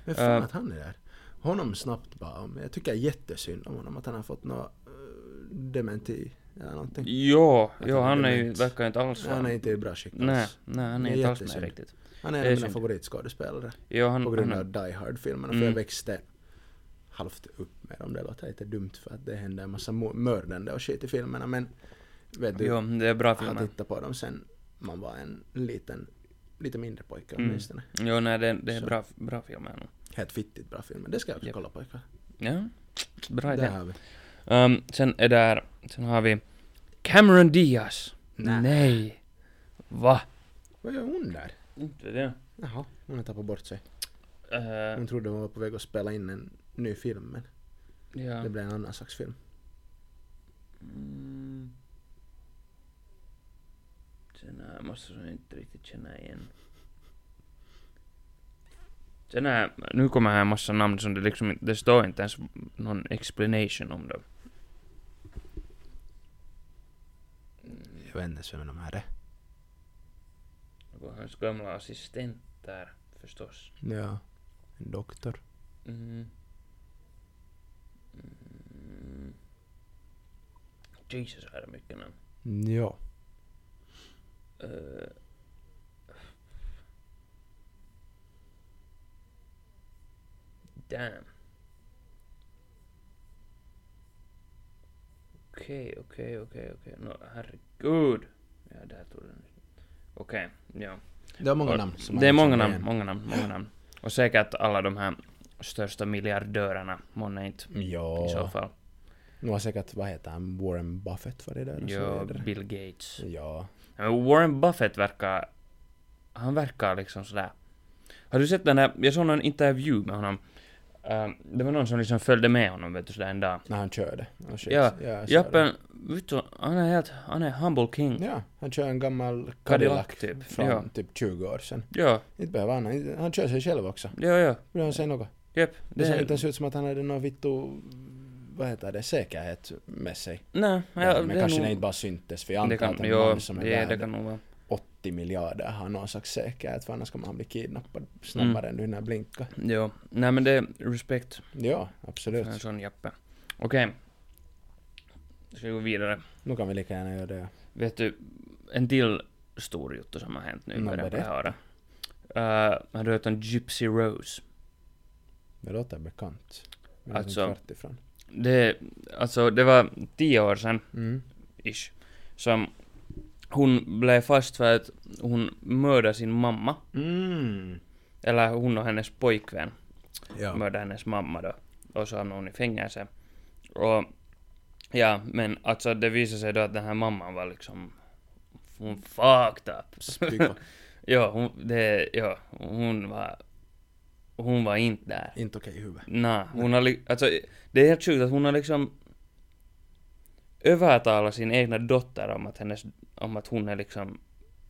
Speaker 2: Men fan
Speaker 3: Äh.
Speaker 2: att han är där. Honom snabbt bara om. Jag tycker jättesynd om honom att han har fått något uh, dementi eller någonting.
Speaker 3: Jo,
Speaker 2: Att
Speaker 3: jo,
Speaker 2: han är
Speaker 3: han är ju,
Speaker 2: dement.
Speaker 3: verkar ju inte alls vara...
Speaker 2: Han är inte i bra skick
Speaker 3: Nej,
Speaker 2: alls.
Speaker 3: nej, han är
Speaker 2: Det är
Speaker 3: inte alls med
Speaker 2: jättesynd.
Speaker 3: riktigt.
Speaker 2: Han är en
Speaker 3: Det är
Speaker 2: av mina
Speaker 3: synd.
Speaker 2: favoritskådespelare.
Speaker 3: Jo, han...
Speaker 2: På grund
Speaker 3: han,
Speaker 2: av Die Hard-filmerna. För
Speaker 3: Mm.
Speaker 2: jag växte halvt upp med dem. Det låter lite dumt för att det hände en massa mo- mördande och shit i filmerna. Men vet du,
Speaker 3: jo, det är bra
Speaker 2: jag
Speaker 3: filmer.
Speaker 2: tittade på dem sen man var en liten, lite mindre pojke
Speaker 3: Mm.
Speaker 2: åtminstone.
Speaker 3: Jo, nej, det, det är
Speaker 2: Så.
Speaker 3: bra, bra filmer nog.
Speaker 2: Helt fittigt bra filmer. Det ska jag också
Speaker 3: Japp.
Speaker 2: kolla på ikväll.
Speaker 3: Ja, bra idé.
Speaker 2: Där har vi.
Speaker 3: Ehm, sen är där, sen har vi Cameron Diaz.
Speaker 2: Nä.
Speaker 3: Nej. Va?
Speaker 2: Vad gör hon där?
Speaker 3: Inte det.
Speaker 2: Jaha, hon har tappat bort sig. Hon trodde hon var på väg att spela in en ny film men
Speaker 3: ja.
Speaker 2: det blev en annan slags film.
Speaker 3: Mm. Sen här måste jag inte riktigt känna igen. Sen här, nu kommer här en massa namn som det liksom inte- det står inte ens någon explanation om dem.
Speaker 2: Jag vet inte ens vem de här är.
Speaker 3: Det var hans gamla assistent där förstås.
Speaker 2: Ja. En doktor.
Speaker 3: Mm. Mm. Jesus, här är mycket namn.
Speaker 2: Ja.
Speaker 3: Eh. Damn. Okej, okej, okej, okej. Nå, herregud. Ja, där tog den. Okej, ja.
Speaker 2: Det var många
Speaker 3: Och-
Speaker 2: namn. som liksom man
Speaker 3: Det är
Speaker 2: inte
Speaker 3: många
Speaker 2: känner
Speaker 3: namn,
Speaker 2: igen.
Speaker 3: många namn, många namn. Och säkert alla de här största miljardörerna, månne inte. I så
Speaker 2: Ja.
Speaker 3: fall.
Speaker 2: Nu har säkert, vad heter han, Warren Buffett var det där och så
Speaker 3: Ja,
Speaker 2: vidare.
Speaker 3: Bill Gates.
Speaker 2: Ja.
Speaker 3: Men Warren Buffett verkar... Han verkar liksom sådär... Har du sett den där... Jag såg någon intervju med honom. Ehm, det var någon som liksom följde med honom vet du sådär en dag.
Speaker 2: När han körde. Oh, shit.
Speaker 3: Ja,
Speaker 2: jag sa det.
Speaker 3: Jappen, vet du, han är helt... Han är humble king.
Speaker 2: Ja, han kör en gammal
Speaker 3: Cadillac
Speaker 2: Cadillac
Speaker 3: typ.
Speaker 2: från
Speaker 3: Ja.
Speaker 2: typ 20 år sedan.
Speaker 3: Ja,
Speaker 2: Inte behöver han, inte- han kör sig själv också.
Speaker 3: ja, ja.
Speaker 2: Vill han säga något?
Speaker 3: Jep.
Speaker 2: Det
Speaker 3: Det
Speaker 2: ser inte
Speaker 3: är...
Speaker 2: ens ut som att han hade någon vittu, vad heter det, säkerhet med sig.
Speaker 3: Nej, ja,
Speaker 2: Ja,
Speaker 3: det
Speaker 2: men
Speaker 3: är
Speaker 2: kanske
Speaker 3: nog-
Speaker 2: det inte bara syntes, för jag
Speaker 3: det
Speaker 2: antar
Speaker 3: kan,
Speaker 2: att en
Speaker 3: jo,
Speaker 2: man som är
Speaker 3: det, det
Speaker 2: värd
Speaker 3: kan nog vara.
Speaker 2: 80 miljarder har någon slags säkerhet, för annars kommer han bli kidnappad
Speaker 3: Mm.
Speaker 2: snabbare än du hinner blinka.
Speaker 3: Jo. Nej men det är respekt
Speaker 2: Ja,
Speaker 3: för
Speaker 2: absolut.
Speaker 3: en sån Jappe. Okej. Ska vi gå vidare.
Speaker 2: Nu kan vi lika gärna göra det.
Speaker 3: Vet du, en till stor juttu som har hänt nu i
Speaker 2: Nå,
Speaker 3: början
Speaker 2: vad
Speaker 3: på
Speaker 2: är
Speaker 3: det
Speaker 2: det?
Speaker 3: här året. Eh, Har du hört om Gypsy Rose?
Speaker 2: Det låter bekant. Men
Speaker 3: Alltså-
Speaker 2: jag är inte ifrån.
Speaker 3: Det, alltså, det var tio år sedan,
Speaker 2: Mm.
Speaker 3: ish, som hon blev fast för att hon mördade sin mamma.
Speaker 2: Mm.
Speaker 3: Eller hon och hennes pojkvän
Speaker 2: Ja.
Speaker 3: mördade hennes mamma då. Och så hamnade hon i fängelse. Och, ja, men alltså det visade sig då att den här mamman var liksom, hon fucked up.
Speaker 2: Spyko.
Speaker 3: Ja, hon, det, ja, hon var... Hon var inte där.
Speaker 2: Inte okej i huvudet.
Speaker 3: Nej, hon har li- alltså, det är helt sjukt att hon har liksom... övertala sin egna dotter om att, hennes, om att hon är liksom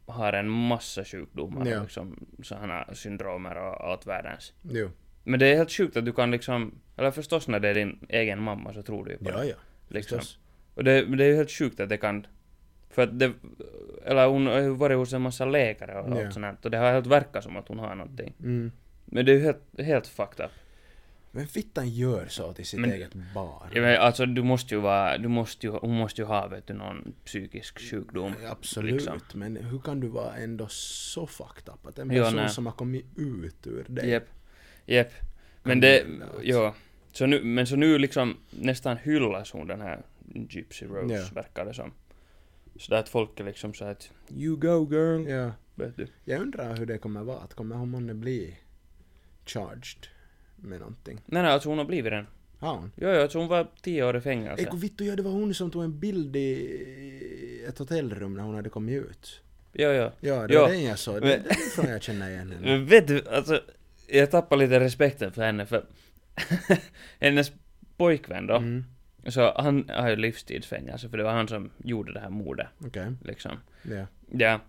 Speaker 3: har en massa sjukdomar,
Speaker 2: Ja.
Speaker 3: och liksom, sådana syndromer och allt världens.
Speaker 2: Jo.
Speaker 3: Men det är helt sjukt att du kan liksom, eller förstås när det är din egen mamma så tror du ju på
Speaker 2: Ja,
Speaker 3: det.
Speaker 2: ja.
Speaker 3: Liksom.
Speaker 2: Förstås.
Speaker 3: Och det, men det är ju helt sjukt att det kan... För att det... Eller hon har ju varit hos en massa läkare och
Speaker 2: Ja.
Speaker 3: allt sånt här, och det har helt verkat som att hon har någonting.
Speaker 2: Mm.
Speaker 3: Men det är ju helt, helt fucked up.
Speaker 2: Men fittan gör så till sitt
Speaker 3: Men-
Speaker 2: eget barn.
Speaker 3: Jag menar, alltså du måste ju vara... Du måste ju, hon måste ju ha vet du, någon psykisk sjukdom.
Speaker 2: Absolut,
Speaker 3: liksom.
Speaker 2: men hur kan du vara ändå så fucked up? Att en
Speaker 3: Ja,
Speaker 2: person
Speaker 3: nej.
Speaker 2: som har kommit ut ur dig.
Speaker 3: Jep. Jep. Men det... Ja. Så nu, men så nu liksom nästan hyllas hon den här Gypsy Rose,
Speaker 2: Ja.
Speaker 3: verkar det som. Så där att folk är liksom så att... You go girl!
Speaker 2: Ja.
Speaker 3: Vet du.
Speaker 2: Jag undrar hur det kommer vara, att kommer hon månne bli charged med någonting?
Speaker 3: Nej, nej, alltså hon har blivit den.
Speaker 2: Har hon?
Speaker 3: Jo, jo, alltså hon var tio år i fängelse.
Speaker 2: Ei kun vittu, ja, det var hon som tog en bild i ett hotellrum när hon hade kommit ut.
Speaker 3: Jo, jo.
Speaker 2: Ja, det
Speaker 3: Ja.
Speaker 2: var den jag såg. Det,
Speaker 3: Men-
Speaker 2: det är från jag känner igen henne.
Speaker 3: Men vet du, alltså, jag tappar lite respekten för henne för hennes pojkvän då,
Speaker 2: Mm,
Speaker 3: så han har ju livstidsfängelse för det var han som gjorde det här mordet,
Speaker 2: Okej,
Speaker 3: liksom.
Speaker 2: ja.
Speaker 3: Ja.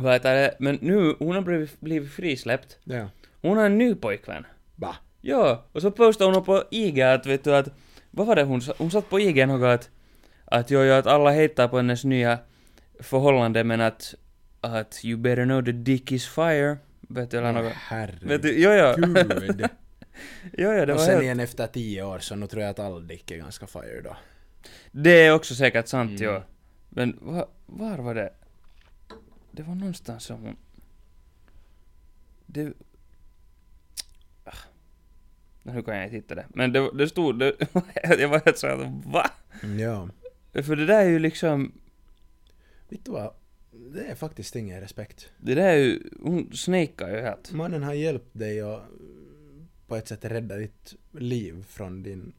Speaker 3: Vad heter det? Men nu, hon har blivit, blivit frisläppt.
Speaker 2: ja.
Speaker 3: Hon har en ny pojkvän.
Speaker 2: Va?
Speaker 3: Ja, och så postade hon på IG att vet du att, vad var det hon sa? Hon satt på IG något att, att jo, jo, att alla hittar på hennes nya förhållande men att, att you better know the dick is fire. Vet du eller något? Vet
Speaker 2: Herregud.
Speaker 3: du, jo, jo.
Speaker 2: Och
Speaker 3: jo, jo, det var
Speaker 2: sen
Speaker 3: helt...
Speaker 2: igen efter tio år så nu tror jag att all dick är ganska fire då.
Speaker 3: Det är också säkert sant,
Speaker 2: Mm.
Speaker 3: jo. Men va, var var det? Det var någonstans som hon... Det... Ah. Nu kan jag inte hitta det. Men det, det stod... Det, jag var helt såhär, va?
Speaker 2: Mm, Ja.
Speaker 3: För det där är ju liksom...
Speaker 2: Vittu vad, det är faktiskt ingen respekt.
Speaker 3: Det där är ju, hon snakear ju helt.
Speaker 2: Mannen har hjälpt dig och på ett sätt räddat ditt liv från din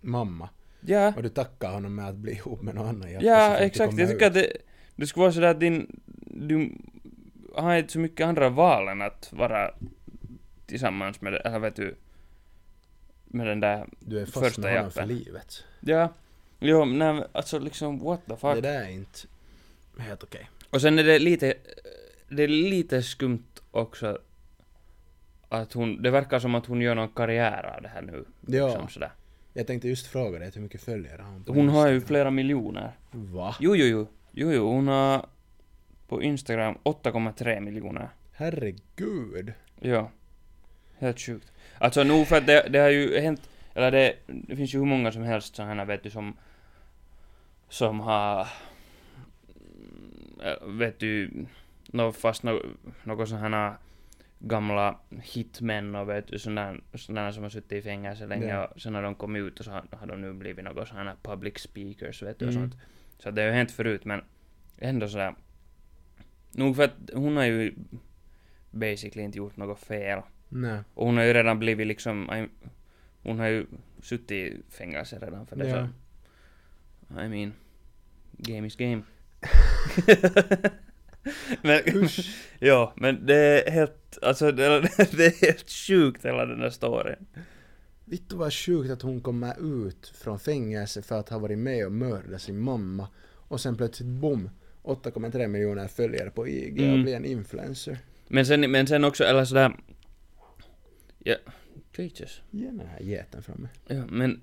Speaker 2: mamma.
Speaker 3: Ja,
Speaker 2: Och du tackar honom med att bli ihop med någon annan.
Speaker 3: ja exakt. Jag tycker att det, det skulle vara sådär att din, du har inte så mycket andra val än att vara tillsammans med, eller vet du, med den där,
Speaker 2: Du är fast
Speaker 3: första
Speaker 2: med honom för
Speaker 3: jappen.
Speaker 2: livet.
Speaker 3: ja, jo, nej, men alltså liksom what the fuck.
Speaker 2: Det där är inte helt okej.
Speaker 3: Och sen är det lite, det är lite skumt också att hon, det verkar som att hon gör någon karriär av det här nu.
Speaker 2: Ja,
Speaker 3: Liksom sådär.
Speaker 2: jag tänkte just fråga dig hur mycket följare har hon på
Speaker 3: Hon har ju
Speaker 2: Instagram?
Speaker 3: flera miljoner.
Speaker 2: Va?
Speaker 3: Jo, jo, jo. Jo, jo, hon har på Instagram 8,3 miljoner.
Speaker 2: Herregud.
Speaker 3: Ja. Helt sjukt. Alltså nog för att det, det har ju hänt, eller det, det finns ju hur många som helst sådana här vet du som, som har, äh, vet du, no, fast no, något sådana här gamla hitmän och vet du sådana, sådana som har suttit i fängelse länge
Speaker 2: Ja.
Speaker 3: och sen har de kommit ut och så har, har de nu blivit något sådana här public speakers vet du och
Speaker 2: Mm.
Speaker 3: sånt. Så det har ju hänt förut men ändå sådär. Nog för att hon har ju basically inte gjort något fel.
Speaker 2: Nej.
Speaker 3: Och hon har ju redan blivit liksom... I- Hon har ju suttit i fängelse redan för det
Speaker 2: Ja.
Speaker 3: så... I mean... Game is game. men,
Speaker 2: Usch.
Speaker 3: ja, men det är helt... Alltså det är, det är helt sjukt hela den där storyn.
Speaker 2: Vittu vad sjukt att hon kommer ut från fängelse för att ha varit med och mördat sin mamma och sen plötsligt bom 8,3 miljoner följare på IG och
Speaker 3: Mm.
Speaker 2: blir en influencer.
Speaker 3: Men sen, men sen också, eller sådär... Ja, Jesus.
Speaker 2: Ge den här geten framme.
Speaker 3: Ja, men...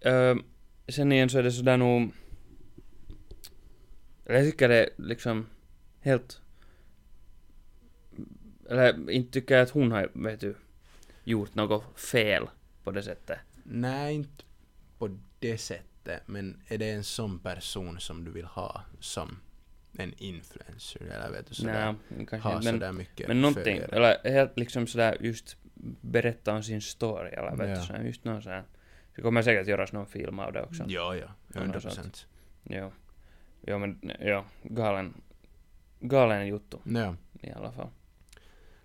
Speaker 3: ehm, sen igen så är det sådär nog... Eller jag tycker det är liksom helt... Eller inte tycker jag att hon har, vet du, gjort något fel på det sättet.
Speaker 2: Nej, inte på det sättet, men är det en sån person som du vill ha som en influencer eller vet du sådär?
Speaker 3: Nej, kanske
Speaker 2: ha
Speaker 3: inte. Men,
Speaker 2: sådär er. mycket
Speaker 3: men någonting,
Speaker 2: följare.
Speaker 3: eller helt liksom sådär just berätta om sin story eller vet
Speaker 2: Ja.
Speaker 3: du, sådär, just någon sån Det kommer säkert göras någon film av det också.
Speaker 2: Ja, ja.
Speaker 3: Ja, något
Speaker 2: 100
Speaker 3: sånt.
Speaker 2: procent.
Speaker 3: Jo. Jo men, jo, galen, galen juttu Niin,
Speaker 2: Ja.
Speaker 3: i alla fall.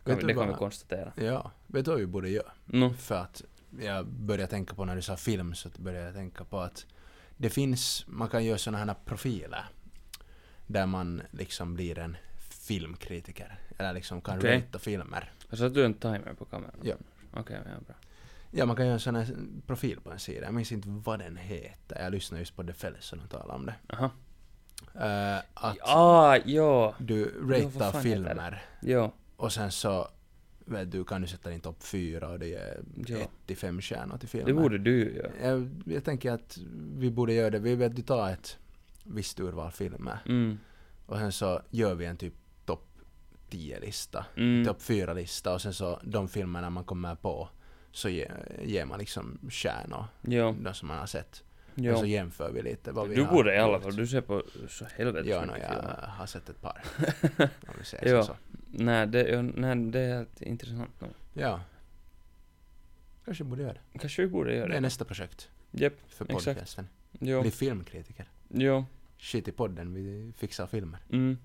Speaker 2: Vet
Speaker 3: Kan vi,
Speaker 2: du
Speaker 3: det kan vi
Speaker 2: vad-
Speaker 3: konstatera.
Speaker 2: ja. Vet du vad vi borde göra?
Speaker 3: No.
Speaker 2: För att jag började tänka på när du sa film så började jag tänka på att det finns, man kan göra sådana här profiler där man liksom blir en filmkritiker eller liksom kan
Speaker 3: Okej.
Speaker 2: rata filmer.
Speaker 3: Har satt du en timer på kameran?
Speaker 2: Ja.
Speaker 3: Okej, ja, bra.
Speaker 2: Ja, man kan göra en sån här profil på en sida. Jag minns inte vad den heter. Jag lyssnade just på The Fellas och de talade om det.
Speaker 3: Aha.
Speaker 2: Eh, att
Speaker 3: Ah, joo.
Speaker 2: du
Speaker 3: vad fan
Speaker 2: ratear
Speaker 3: heter
Speaker 2: filmer
Speaker 3: Joo.
Speaker 2: och sen så vet du, kan du sätta din topp fyra och det ger
Speaker 3: Ja.
Speaker 2: 1-5 stjärnor till filmer.
Speaker 3: Det borde du ju göra.
Speaker 2: jag, Eh, jag tänker att vi borde göra det. Vi vet du tar ett visst urval filmer
Speaker 3: Mm.
Speaker 2: och sen så gör vi en typ topp 10-lista,
Speaker 3: Mm.
Speaker 2: topp 4-lista och sen så de filmerna man kommer på så ge, ger man liksom stjärnor,
Speaker 3: Joo.
Speaker 2: de som man har sett. Och så
Speaker 3: Joo.
Speaker 2: jämför vi lite vad vi
Speaker 3: Du
Speaker 2: har
Speaker 3: borde i alla
Speaker 2: gjort.
Speaker 3: fall, du ser på så helvetes
Speaker 2: Ja, no,
Speaker 3: mycket
Speaker 2: jag
Speaker 3: filmer.
Speaker 2: har sett ett par. Om vi säger
Speaker 3: Ja.
Speaker 2: så.
Speaker 3: Nej, det, ja, nej, det är helt intressant nog.
Speaker 2: Ja. Kanske borde göra det.
Speaker 3: Kanske vi borde göra
Speaker 2: Det är
Speaker 3: det.
Speaker 2: nästa projekt
Speaker 3: Japp,
Speaker 2: för
Speaker 3: Exakt.
Speaker 2: podcasten.
Speaker 3: jo,
Speaker 2: Bli filmkritiker.
Speaker 3: jo,
Speaker 2: Shit i podden, vi fixar filmer.
Speaker 3: mm.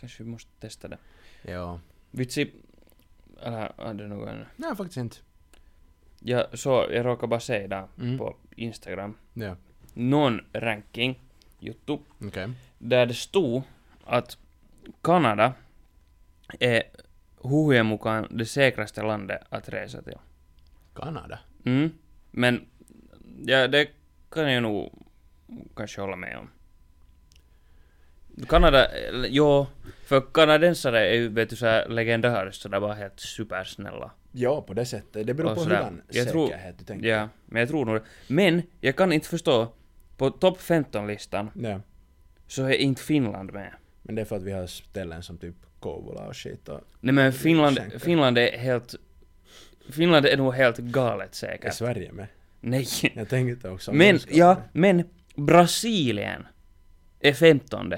Speaker 3: Kanske vi måste testa det.
Speaker 2: Ja.
Speaker 3: Vitsi, eller hade något ännu.
Speaker 2: Nej, faktiskt inte.
Speaker 3: Jag så, jag råkade bara säga idag
Speaker 2: Mm.
Speaker 3: på Instagram,
Speaker 2: Ja.
Speaker 3: någon ranking, Youtube,
Speaker 2: Okej.
Speaker 3: där det stod att Kanada är huhujen mukaan det säkraste landet att resa till.
Speaker 2: Kanada.
Speaker 3: Mm. Men, ja, det kan jag nog kanske hålla med om. Kanada, eller, jo, för kanadensare är ju vet du såhär legendariskt sådär bara helt supersnälla.
Speaker 2: Ja, på det sättet. Det
Speaker 3: Och sådär. Jag tror-
Speaker 2: du
Speaker 3: Ja, men jag tror nog det. Men, jag kan inte förstå, på topp 15-listan
Speaker 2: Ja.
Speaker 3: så är inte Finland med.
Speaker 2: Men det är för att vi har ställen som typ Kouvola och shit och...
Speaker 3: Nej men Finland,
Speaker 2: Skänker.
Speaker 3: Finland är helt... Finland är nog helt galet
Speaker 2: Är
Speaker 3: säkert.
Speaker 2: Sverige med?
Speaker 3: Nej.
Speaker 2: Jag tänkte också... om
Speaker 3: Men,
Speaker 2: de ska-
Speaker 3: ja, men Brasilien är 15.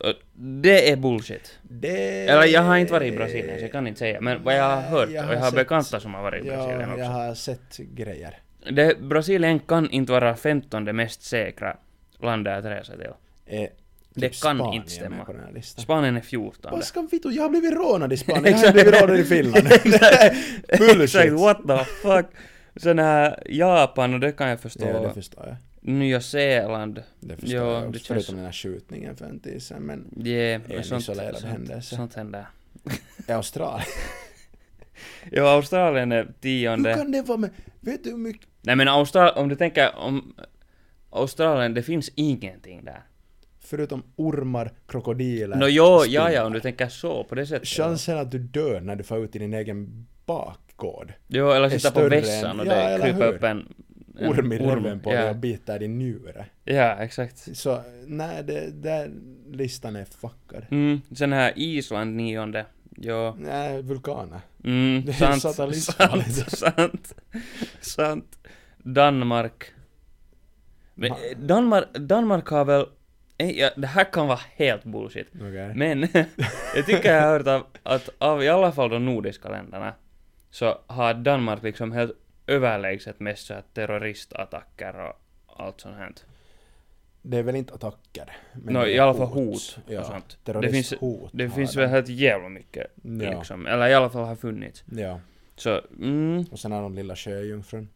Speaker 3: Och Det är bullshit.
Speaker 2: Det...
Speaker 3: Eller jag har inte varit i Brasilien så jag kan inte säga. Men vad jag har
Speaker 2: Nej, jag
Speaker 3: hört och jag
Speaker 2: har
Speaker 3: har
Speaker 2: sett-
Speaker 3: bekanta som har varit i Brasilien
Speaker 2: Ja, jag
Speaker 3: också.
Speaker 2: har sett grejer.
Speaker 3: Det, Brasilien kan inte vara 15 mest säkra landet att resa till.
Speaker 2: Eh, typ
Speaker 3: Det kan
Speaker 2: Spanien
Speaker 3: inte stämma.
Speaker 2: med på den här listan.
Speaker 3: Spanien är 14.
Speaker 2: Paskan vitu, jag har blivit rånad i Spanien, jag har blivit rånad i Finland.
Speaker 3: Exakt,
Speaker 2: Bullshit!
Speaker 3: what the fuck. Sen här Japan och det kan jag förstå.
Speaker 2: Ja, det förstår jag.
Speaker 3: Nya Zeeland.
Speaker 2: Det förstår
Speaker 3: Ja,
Speaker 2: jag
Speaker 3: det
Speaker 2: också.
Speaker 3: känns-
Speaker 2: Förutom den här skjutningen för en tid sedan, men
Speaker 3: Yeah,
Speaker 2: en
Speaker 3: sånt,
Speaker 2: isolerad
Speaker 3: sånt,
Speaker 2: händelse.
Speaker 3: Sånt händer.
Speaker 2: i Australien.
Speaker 3: Jo, Australien är
Speaker 2: Hur
Speaker 3: tionde.
Speaker 2: kan det vara med? Vet du hur mycket?
Speaker 3: Nej men Australien, om du tänker om Australien, det finns ingenting där.
Speaker 2: Förutom ormar, krokodiler,
Speaker 3: Nå jo,
Speaker 2: spindlar.
Speaker 3: ja ja, om du tänker så, på det sättet.
Speaker 2: Chansen att du dör när du far ut i din egen bakgård.
Speaker 3: Jo, eller
Speaker 2: är
Speaker 3: sitta på
Speaker 2: större
Speaker 3: vässan
Speaker 2: än-
Speaker 3: och
Speaker 2: ja,
Speaker 3: det
Speaker 2: eller
Speaker 3: kryper
Speaker 2: hur?
Speaker 3: upp en... en
Speaker 2: Orm i röven på dig och
Speaker 3: ja.
Speaker 2: bitar din njure.
Speaker 3: ja, exakt.
Speaker 2: Så nej, det, den listan är fuckad.
Speaker 3: Mm, sen här Island nionde. Jo.
Speaker 2: Nej, vulkaner.
Speaker 3: Mm,
Speaker 2: Det är
Speaker 3: sant, sant,
Speaker 2: satanismfarligt.
Speaker 3: sant, sant. Danmark. Men,
Speaker 2: Ma-
Speaker 3: eh, Danmark, Danmark har väl... eh, Ja, det här kan vara helt bullshit.
Speaker 2: Okej.
Speaker 3: Men jag tycker jag har hört av, att av i alla fall de nordiska länderna så har Danmark liksom helt överlägset mest så här terroristattacker och allt sånt här.
Speaker 2: Det är väl inte attacker? men
Speaker 3: Nå
Speaker 2: det är
Speaker 3: i alla fall hot och
Speaker 2: Ja.
Speaker 3: sånt. Det finns,
Speaker 2: Terroristhot.
Speaker 3: det
Speaker 2: har
Speaker 3: finns
Speaker 2: de.
Speaker 3: väl helt jävla mycket
Speaker 2: Ja.
Speaker 3: liksom. Eller i alla fall har funnits.
Speaker 2: ja.
Speaker 3: Så mm,
Speaker 2: Och sen har de lilla sjöjungfrun.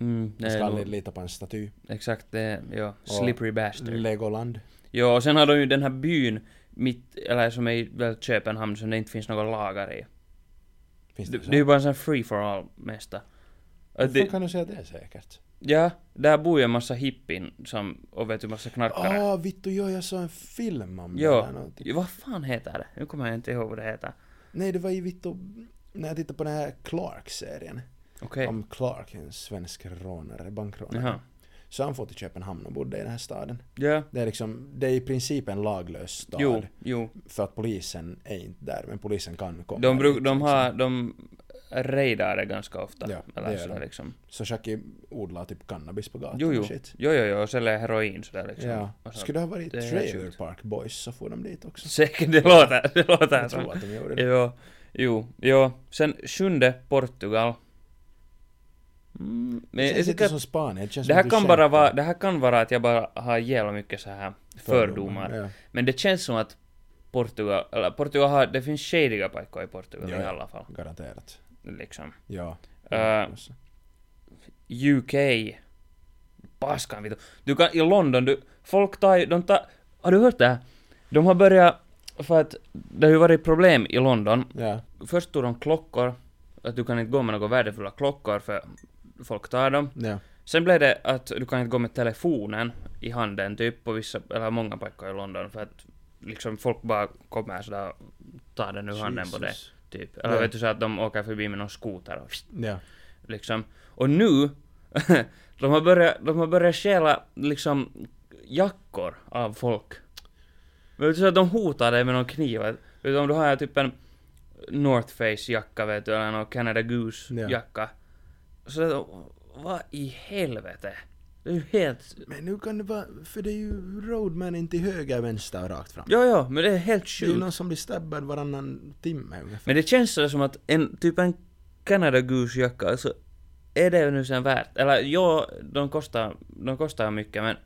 Speaker 3: mm
Speaker 2: Man
Speaker 3: nej,
Speaker 2: ska
Speaker 3: nog,
Speaker 2: aldrig lita på en staty.
Speaker 3: exakt det, är- ja. Slippery
Speaker 2: Mm.
Speaker 3: bastard.
Speaker 2: Legoland.
Speaker 3: Jo, och sen har de ju den här byn mitt, eller som är i väl Köpenhamn som det inte finns några lagar i.
Speaker 2: Finns
Speaker 3: Det,
Speaker 2: det,
Speaker 3: det är ju bara en sån här free for all mesta. Att
Speaker 2: Hur
Speaker 3: det-
Speaker 2: fan kan du säga det säkert?
Speaker 3: Ja, där bor ju en massa hippin som, och vet du, massa knarkare.
Speaker 2: Ah, vittu, jo, jag såg en film om det
Speaker 3: Joo.
Speaker 2: där någonting.
Speaker 3: Vad fan heter det? Nu kommer jag inte ihåg vad det heter.
Speaker 2: Nej, det var ju vittu, när jag tittade på den här Clark-serien.
Speaker 3: Okej.
Speaker 2: Om Clark, en svensk rånare, bankrånare.
Speaker 3: Jaha.
Speaker 2: Så han får till Köpenhamn och bodde i den här staden.
Speaker 3: Ja.
Speaker 2: Det är liksom, det är i princip en laglös stad.
Speaker 3: Jo, jo.
Speaker 2: För att polisen är inte där, men polisen kan komma.
Speaker 3: De, bruk,
Speaker 2: dit,
Speaker 3: de
Speaker 2: liksom.
Speaker 3: har, de raidar det ganska ofta.
Speaker 2: Ja, det
Speaker 3: eller
Speaker 2: gör
Speaker 3: sådär
Speaker 2: de.
Speaker 3: liksom.
Speaker 2: Så Shaki odlar typ cannabis på gatan
Speaker 3: Jo, jo.
Speaker 2: och shit.
Speaker 3: Jo, jo, jo. Och säljer heroin sådär liksom.
Speaker 2: Ja.
Speaker 3: Och så.
Speaker 2: Skulle det ha varit
Speaker 3: Det är
Speaker 2: Trailer
Speaker 3: sjukt.
Speaker 2: Park Boys så får de dit också.
Speaker 3: Säkert, det låter, det låter
Speaker 2: Jag tror
Speaker 3: som.
Speaker 2: att de gjorde det.
Speaker 3: Jo, jo, jo. Sen sjunde, Portugal. Mm, men
Speaker 2: Det
Speaker 3: jag
Speaker 2: känns inte
Speaker 3: tycker
Speaker 2: som Spanien. Det, känns
Speaker 3: Det
Speaker 2: som
Speaker 3: här
Speaker 2: att du
Speaker 3: kan bara
Speaker 2: skämtar.
Speaker 3: vara, det här kan vara att jag bara har jävla mycket så här fördomar.
Speaker 2: Ja.
Speaker 3: Men det känns som att Portugal, eller Portugal har, det finns shadiga paikkoja i Portugal
Speaker 2: Ja,
Speaker 3: i
Speaker 2: ja.
Speaker 3: alla fall.
Speaker 2: Garanterat.
Speaker 3: Liksom.
Speaker 2: Ja.
Speaker 3: Äh, UK. Paskan vitu. Du kan, i London, du, folk tar ju- de tar, har du hört det här? De har börjat, för att det har ju varit problem i London.
Speaker 2: ja.
Speaker 3: Först tog de klockor, att du kan inte gå med några värdefulla klockor för folk tar dem.
Speaker 2: Ja.
Speaker 3: Sen blev det att du kan inte gå med telefonen i handen typ på vissa, eller många paikkoja i London för att liksom folk bara kommer sådär och tar den ur handen på dig.
Speaker 2: Jesus.
Speaker 3: Typ. Eller
Speaker 2: Ja.
Speaker 3: vet du så att de åker förbi med någon skoter och pst,
Speaker 2: Ja.
Speaker 3: liksom. Och nu, de har börjat, de har börjat stjäla liksom jackor av folk. Men Vet du så att de hotar dig med någon kniv? Vet du, om du har typ en North Face jacka vet du, eller någon Canada Goose
Speaker 2: Ja.
Speaker 3: jacka. Så att, vad i helvete? Det är ju helt...
Speaker 2: Men nu kan det vara, för det är ju roadmanen till höger, vänster och rakt fram.
Speaker 3: Ja, ja, men det är helt
Speaker 2: Det är ju
Speaker 3: sjukt.
Speaker 2: någon som blir stabbad varannan timme ungefär.
Speaker 3: Men det känns så som att en, typ en Canada Goose jacka, alltså är det nu sen värt? Eller ja, de kostar, de kostar mycket men...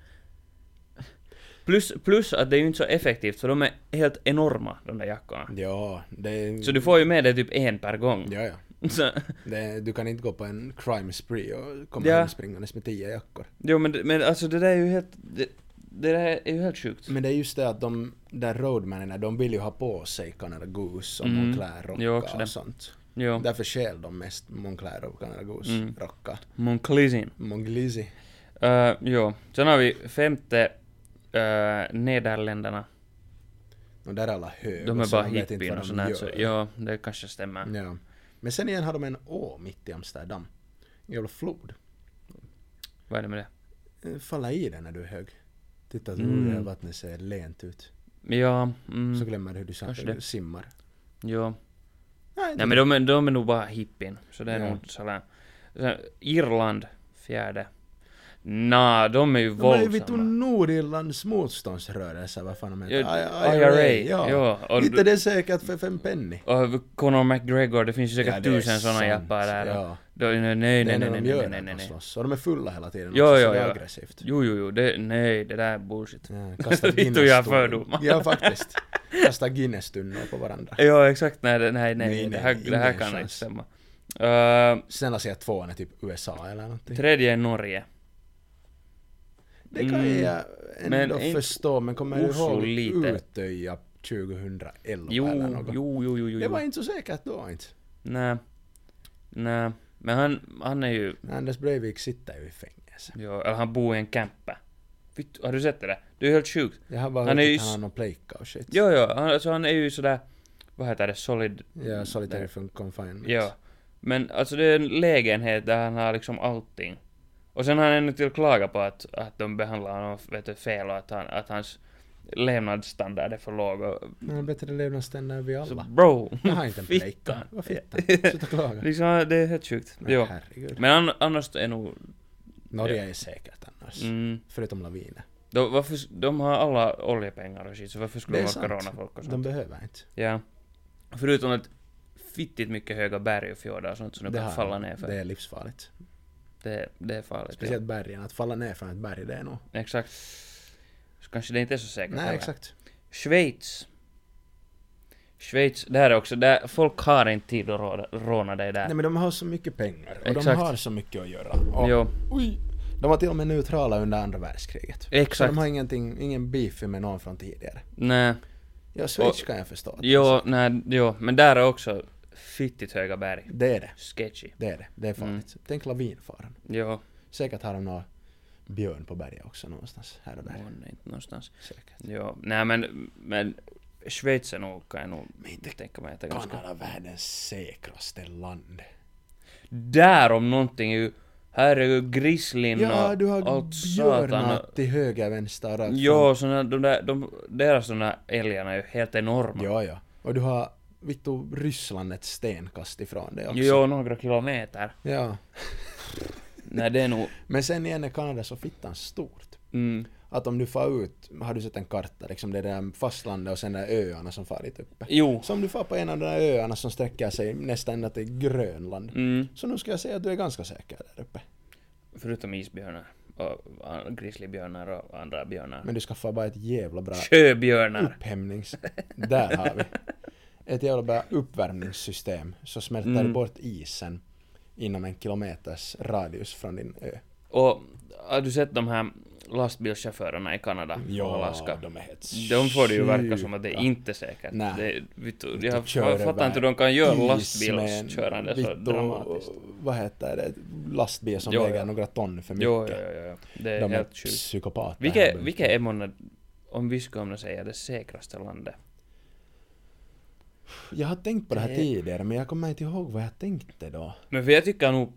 Speaker 3: Plus, plus att det är ju inte så effektivt för de är helt enorma de där jackorna.
Speaker 2: Ja, det är...
Speaker 3: Så du får ju med dig typ en per gång.
Speaker 2: Ja, ja.
Speaker 3: Så,
Speaker 2: Det, du kan inte gå på en crime spree och komma
Speaker 3: Ja.
Speaker 2: hem springandes med tio jackor.
Speaker 3: jo men, men alltså det där är ju helt... Det, det där är ju helt sjukt.
Speaker 2: Men det är just det att de där roadmanerna, de vill ju ha på sig Canada Goose som
Speaker 3: Mm.
Speaker 2: Moncler rockar
Speaker 3: Jo, också det.
Speaker 2: och sånt.
Speaker 3: Jo.
Speaker 2: Därför stjäl de mest Moncler och Canada Goose
Speaker 3: Mm.
Speaker 2: rockar.
Speaker 3: Monclisin.
Speaker 2: Monglisi.
Speaker 3: Uh, jo. Sen har vi femte uh, Nederländerna.
Speaker 2: Och där är alla höga.
Speaker 3: De är
Speaker 2: så
Speaker 3: bara
Speaker 2: man vet inte
Speaker 3: hippien
Speaker 2: vad de
Speaker 3: och sånt där.
Speaker 2: gör.
Speaker 3: Så, ja, det kanske stämmer.
Speaker 2: Ja. Men sen igen har de en å mitt i Amsterdam. En jävla flod.
Speaker 3: Vad är det med det?
Speaker 2: Eh, Falla i den när du är hög. Titta hur
Speaker 3: Mm.
Speaker 2: det här vattnet ser lent ut.
Speaker 3: Ja, mm,
Speaker 2: Så glömmer du hur du sa-
Speaker 3: Kanske det.
Speaker 2: simmar.
Speaker 3: ja.
Speaker 2: Nej,
Speaker 3: Nej men de, är- de är nog bara hippin. Så det är
Speaker 2: Ja.
Speaker 3: nog sådär. Sen Irland, fjärde. Nä, de är ju
Speaker 2: de är ju
Speaker 3: våldsamma.
Speaker 2: vittu Nordirlands motståndsrörelse, vad fan de heter.
Speaker 3: Ja,
Speaker 2: I-
Speaker 3: IRA, ja,
Speaker 2: ja.
Speaker 3: och-
Speaker 2: Inte det är säkert för fem penny.
Speaker 3: Och Conor McGregor, det finns ju säkert
Speaker 2: Ja, det är
Speaker 3: tusen såna
Speaker 2: sant,
Speaker 3: jappar där.
Speaker 2: ja.
Speaker 3: Då, nej, nej,
Speaker 2: det
Speaker 3: nej, nej,
Speaker 2: är när
Speaker 3: nej, nej,
Speaker 2: de gör
Speaker 3: nej,
Speaker 2: när
Speaker 3: nej,
Speaker 2: de
Speaker 3: nej.
Speaker 2: slåss. Och de är fulla hela tiden
Speaker 3: Jo,
Speaker 2: också, så
Speaker 3: jo,
Speaker 2: det är
Speaker 3: jo.
Speaker 2: aggressivt.
Speaker 3: Jo, jo, jo, det, nej, det där är bullshit.
Speaker 2: Ja,
Speaker 3: Vittu jag
Speaker 2: Guinness-tunnor.
Speaker 3: fördomar.
Speaker 2: Ja, faktiskt. Kasta Guinness-tunnor på varandra.
Speaker 3: Ja, exakt, nej, det- nej, nej, nej,
Speaker 2: Nej,
Speaker 3: det
Speaker 2: nej,
Speaker 3: här, det här
Speaker 2: ingen
Speaker 3: kan
Speaker 2: chans.
Speaker 3: inte stämma. Uh,
Speaker 2: Sen att säga att tvåan är typ USA eller någonting.
Speaker 3: tredje är Norge.
Speaker 2: Det kan
Speaker 3: Mm.
Speaker 2: jag
Speaker 3: Men
Speaker 2: ändå
Speaker 3: inte
Speaker 2: förstå, men kommer du
Speaker 3: Oslo
Speaker 2: ihåg
Speaker 3: lite.
Speaker 2: Utöja 2011
Speaker 3: Jo,
Speaker 2: eller
Speaker 3: jo,
Speaker 2: något?
Speaker 3: jo, jo, jo, jo.
Speaker 2: Det var inte så säkert då inte.
Speaker 3: Nej. Nej. Men han, han är ju...
Speaker 2: Anders Breivik sitter ju i fängelse.
Speaker 3: Jo, eller han bor i en camper. Vittu, har du sett det där? Det är ju helt sjukt.
Speaker 2: Jag har bara
Speaker 3: Han
Speaker 2: hört
Speaker 3: är ju
Speaker 2: att
Speaker 3: s-
Speaker 2: han har plejka och shit.
Speaker 3: Jo, jo, han, alltså han är ju sådär... Vad heter det? Solid...
Speaker 2: Ja, solitary
Speaker 3: Mm.
Speaker 2: from confinement.
Speaker 3: Jo. Men alltså det är en lägenhet där han har liksom allting. Och sen har han ännu till klagat på att, att de behandlar honom vet du, fel och att, han, att hans levnadsstandard är för låg och...
Speaker 2: Men han har bättre levnadsstandard än vi
Speaker 3: Så
Speaker 2: alla.
Speaker 3: bro!
Speaker 2: Jag har inte en
Speaker 3: Fittan.
Speaker 2: plejka. Vad fittan? Sluta klaga.
Speaker 3: liksom, det är helt sjukt.
Speaker 2: Men
Speaker 3: Jo.
Speaker 2: herregud.
Speaker 3: Men an, annars är nog...
Speaker 2: Norge är säkert annars.
Speaker 3: Mm,
Speaker 2: Förutom laviner.
Speaker 3: De, varför, de har alla oljepengar och skit, så varför skulle
Speaker 2: Det
Speaker 3: de
Speaker 2: är
Speaker 3: ha
Speaker 2: sant.
Speaker 3: coronafolk och sånt?
Speaker 2: De behöver inte.
Speaker 3: Ja. Förutom att fittigt mycket höga berg och fjordar och sånt som de
Speaker 2: har
Speaker 3: kan
Speaker 2: de.
Speaker 3: falla ner för.
Speaker 2: Det
Speaker 3: Det,
Speaker 2: är livsfarligt.
Speaker 3: det, är farligt.
Speaker 2: Speciellt bergen. Att falla ner från ett berg, det är nog...
Speaker 3: Ja. Exakt. Så kanske det inte är så säkert
Speaker 2: Nej,
Speaker 3: heller.
Speaker 2: exakt.
Speaker 3: Schweiz. Schweiz, där är också, där, folk har inte tid att råda, råna dig där.
Speaker 2: Nej men de har så mycket pengar och de
Speaker 3: Exakt.
Speaker 2: har så mycket att göra. Och,
Speaker 3: Jo,
Speaker 2: oj, de var till och med neutrala under andra världskriget. Så
Speaker 3: exakt.
Speaker 2: de har ingenting, ingen beef med någon från tidigare.
Speaker 3: Nej,
Speaker 2: Ja, Schweiz
Speaker 3: Och-
Speaker 2: kan jag förstå. att-
Speaker 3: jo, nej, jo, men där är också fittigt höga berg.
Speaker 2: Det är det.
Speaker 3: Sketchy.
Speaker 2: Det är det. Det är
Speaker 3: Mm.
Speaker 2: farligt. Tänk lavinfaran.
Speaker 3: Jo,
Speaker 2: Säkert har de några björn på berget också någonstans här och där.
Speaker 3: Åh, nej, inte någonstans.
Speaker 2: Säkert.
Speaker 3: Jo, nej men, men Schweiz är nog, kan jag nog
Speaker 2: Men inte
Speaker 3: tänka mig att det är ganska...
Speaker 2: Kanada världens säkraste land.
Speaker 3: Där om någonting är ju... Här är ju grislin
Speaker 2: Ja,
Speaker 3: och
Speaker 2: du har
Speaker 3: allt satan.
Speaker 2: björnar
Speaker 3: och-
Speaker 2: till höger, vänster och rakt fram.
Speaker 3: Jo, såna, de där, de, deras såna älgarna är ju helt enorma.
Speaker 2: Ja, ja. Och du har vittu Ryssland ett stenkast ifrån dig också.
Speaker 3: Jo, några kilometer.
Speaker 2: Ja.
Speaker 3: Nej, det är nog...
Speaker 2: Men sen igen är Kanada så fittan stort.
Speaker 3: Mm.
Speaker 2: Att om du far ut, har du sett en karta, liksom det där fastlandet och sen de där öarna som far dit uppe.
Speaker 3: Jo.
Speaker 2: Så om du far på en av de där öarna som sträcker sig nästan ända till Grönland.
Speaker 3: Mm.
Speaker 2: Så nu ska jag säga att du är ganska säker där uppe.
Speaker 3: Förutom isbjörnar. Och an- grizzlybjörnar och andra björnar.
Speaker 2: Men du ska få bara ett jävla bra
Speaker 3: Sjöbjörnar.
Speaker 2: upphämnings... Där har vi. Ett jävla bra uppvärmningssystem. Så smälter
Speaker 3: Mm.
Speaker 2: du bort isen inom en kilometers radius från din ö.
Speaker 3: Och har du sett de här lastbilschaufförerna i Kanada och Alaska.
Speaker 2: de är helt
Speaker 3: De får det ju verka som att det
Speaker 2: sjuka.
Speaker 3: är inte säkert.
Speaker 2: Nej.
Speaker 3: Det, vittu,
Speaker 2: Vittu,
Speaker 3: jag
Speaker 2: Typ kör
Speaker 3: fattar
Speaker 2: över
Speaker 3: inte hur de kan göra
Speaker 2: is med en
Speaker 3: lastbilskörande så
Speaker 2: vittu-
Speaker 3: dramatiskt.
Speaker 2: Vad heter det? Lastbil som
Speaker 3: Joo,
Speaker 2: väger
Speaker 3: joo.
Speaker 2: några ton för mycket.
Speaker 3: Jo, jo, jo, jo. Det är
Speaker 2: De är
Speaker 3: helt sjukt.
Speaker 2: psykopater. här
Speaker 3: Vilket,
Speaker 2: bunten.
Speaker 3: vilket är månne, om vi skulle kunna säga det säkraste landet?
Speaker 2: Jag har tänkt på det här
Speaker 3: Det-
Speaker 2: tidigare men jag kommer inte ihåg vad jag tänkte då.
Speaker 3: Men för jag tycker nog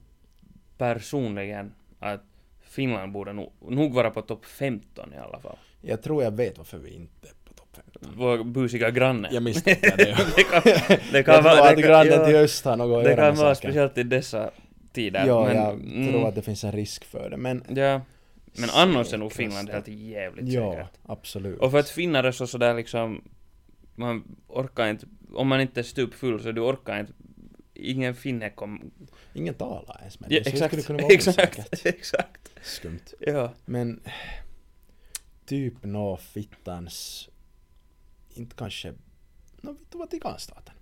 Speaker 3: personligen att Finland borde nog, nog vara på topp 15 i alla fall.
Speaker 2: Jag tror jag vet varför vi inte är på topp 15.
Speaker 3: Vår busiga granne.
Speaker 2: Jag misstänker det.
Speaker 3: det kan, det
Speaker 2: Mm. jag tror
Speaker 3: kan vara...
Speaker 2: att
Speaker 3: Det kan,
Speaker 2: grannen till
Speaker 3: ja,
Speaker 2: öst har något att
Speaker 3: det
Speaker 2: göra
Speaker 3: kan
Speaker 2: med
Speaker 3: vara
Speaker 2: saken.
Speaker 3: speciellt i dessa tider.
Speaker 2: Ja,
Speaker 3: men,
Speaker 2: jag tror
Speaker 3: mm,
Speaker 2: att det finns en risk för det men...
Speaker 3: Ja. Men annars är nog
Speaker 2: Säkraste.
Speaker 3: Finland helt jävligt
Speaker 2: Ja,
Speaker 3: säkert.
Speaker 2: absolut.
Speaker 3: Och för att finnar är så sådär liksom... Man orkar inte... Om man inte är stupfull så du orkar inte... Ingen finne kom...
Speaker 2: Ingen talar ens med
Speaker 3: Ja,
Speaker 2: det, så det
Speaker 3: exakt,
Speaker 2: skulle kunna vara osäkert.
Speaker 3: exakt, exakt.
Speaker 2: Skumt.
Speaker 3: Ja.
Speaker 2: Men typ nå fittans... Inte kanske... Nå vet du vad Tikanstaten?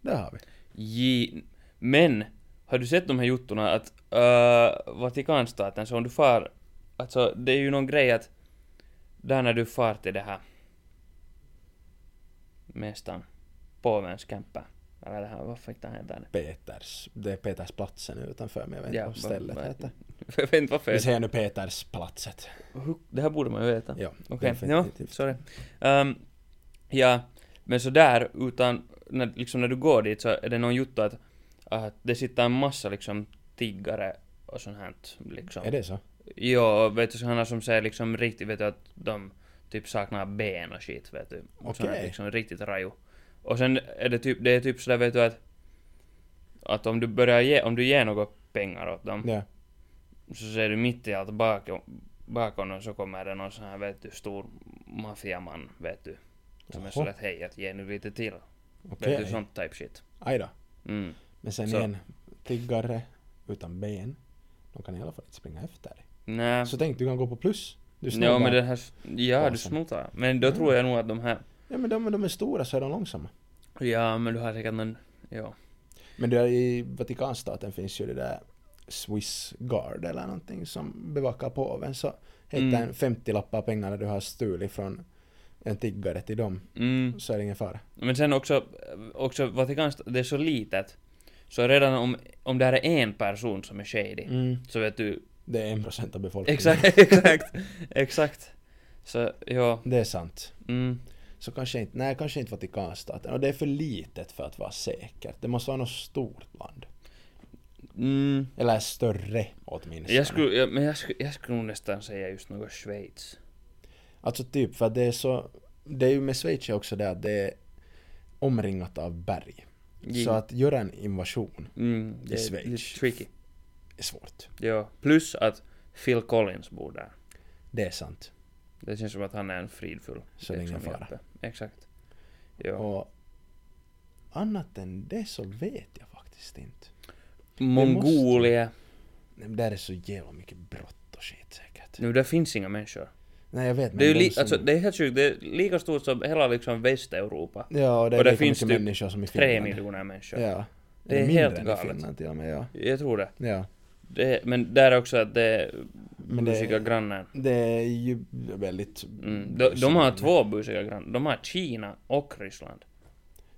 Speaker 2: Där har vi.
Speaker 3: J- Men, har du sett de här juttorna att uh, Vatikanstaten, så om du far... Alltså, det är ju någon grej att... Där när du far till det här... Mästaren. Påvens kämpa. Eller det här, vad fittan heter det?
Speaker 2: Peters... Det är Petersplatsen utanför men jag vet
Speaker 3: Ja,
Speaker 2: inte vad stället
Speaker 3: vad- vad-
Speaker 2: heter.
Speaker 3: Jag vet inte varför.
Speaker 2: Vi
Speaker 3: jag-
Speaker 2: säger nu Petersplatset.
Speaker 3: Hur- Det här borde man ju veta.
Speaker 2: Ja,
Speaker 3: Okej, ja,
Speaker 2: definitivt.
Speaker 3: sorry. Ehm, ja, men så där utan, när, liksom när du går dit så är det någon jutta att, att det sitter en massa liksom tiggare och sånt här liksom.
Speaker 2: Är det så?
Speaker 3: Jo, vet du sådana som säger liksom riktigt, vet du att de typ saknar ben och skit, vet du.
Speaker 2: Okej.
Speaker 3: Såna liksom riktigt raju. Och sen är det typ, det är typ sådär vet du att, att om du börjar ge, om du ger något pengar åt dem,
Speaker 2: Ja.
Speaker 3: så ser du mitt i allt bakom, bakom och så kommer det någon sån här vet du, stor maffiaman vet du. Som är
Speaker 2: Jaha.
Speaker 3: sådär att hej att ge nu lite till. Vet du
Speaker 2: Okej.
Speaker 3: sånt type shit.
Speaker 2: Aj då.
Speaker 3: Mm.
Speaker 2: Men sen
Speaker 3: Så.
Speaker 2: igen, tiggare utan ben. De kan i alla fall inte springa efter dig.
Speaker 3: Nä.
Speaker 2: Så tänk, du kan gå på plus. Du
Speaker 3: Ja men
Speaker 2: snubbar.
Speaker 3: den här, ja du
Speaker 2: Basen.
Speaker 3: snotar. Men då tror jag nog att de här,
Speaker 2: Ja men de, de är stora så är de långsamma.
Speaker 3: ja men du har säkert någon, ja.
Speaker 2: Men där i Vatikanstaten finns ju det där Swiss Guard eller någonting som bevakar påven så hitta
Speaker 3: Mm.
Speaker 2: en 50 lappar pengarna du har stulit från en tiggare till dem
Speaker 3: Mm.
Speaker 2: så är det ingen fara.
Speaker 3: Men sen också, också Vatikanstaten, det är så litet. Så redan om, om det här är en person som är shady,
Speaker 2: Mm.
Speaker 3: så vet du,
Speaker 2: Det är en procent av befolkningen.
Speaker 3: Mm. exakt, exakt, exakt. Så, ja,
Speaker 2: Det är sant.
Speaker 3: mm.
Speaker 2: Så kanske inte, nej kanske inte Vatikanstaten och det är för litet för att vara säkert. Det måste vara något stort land.
Speaker 3: Mm.
Speaker 2: Eller större åtminstone.
Speaker 3: Jag skulle, jag, men jag skulle, jag skulle nog nästan säga just något Schweiz.
Speaker 2: Alltså typ för att det är så, det är ju med Schweiz också det att det är omringat av berg.
Speaker 3: Gin-
Speaker 2: Så att göra en invasion
Speaker 3: mm,
Speaker 2: i
Speaker 3: det är
Speaker 2: Schweiz.
Speaker 3: lite tricky.
Speaker 2: är svårt.
Speaker 3: Ja. Plus att Phil Collins bor där.
Speaker 2: Det är sant.
Speaker 3: Det känns som att han är en fridfull
Speaker 2: Så det är ingen
Speaker 3: liksom,
Speaker 2: fara.
Speaker 3: hjälte. Exakt. Ja.
Speaker 2: Och annat än det så vet jag faktiskt inte.
Speaker 3: Mongolia.
Speaker 2: Nej, men där är så jävla mycket brott och skit säkert.
Speaker 3: Nu, där finns inga människor.
Speaker 2: Nej jag vet
Speaker 3: det är ju
Speaker 2: de
Speaker 3: li-
Speaker 2: som-
Speaker 3: alltså, det är helt sjukt. Det är lika stort som hela liksom Västeuropa.
Speaker 2: Ja och det är
Speaker 3: och det
Speaker 2: lika
Speaker 3: finns
Speaker 2: mycket
Speaker 3: typ
Speaker 2: människor som i Finland.
Speaker 3: Tre miljoner människor.
Speaker 2: Ja.
Speaker 3: Det är
Speaker 2: mindre
Speaker 3: helt
Speaker 2: än i
Speaker 3: galet.
Speaker 2: Finland till och med, ja.
Speaker 3: Jag tror det.
Speaker 2: ja.
Speaker 3: det. Men där också att det är
Speaker 2: Men det-
Speaker 3: busiga grannen.
Speaker 2: Det är ju väldigt...
Speaker 3: Mm. De, de har två busiga grannar. De har Kina och Ryssland.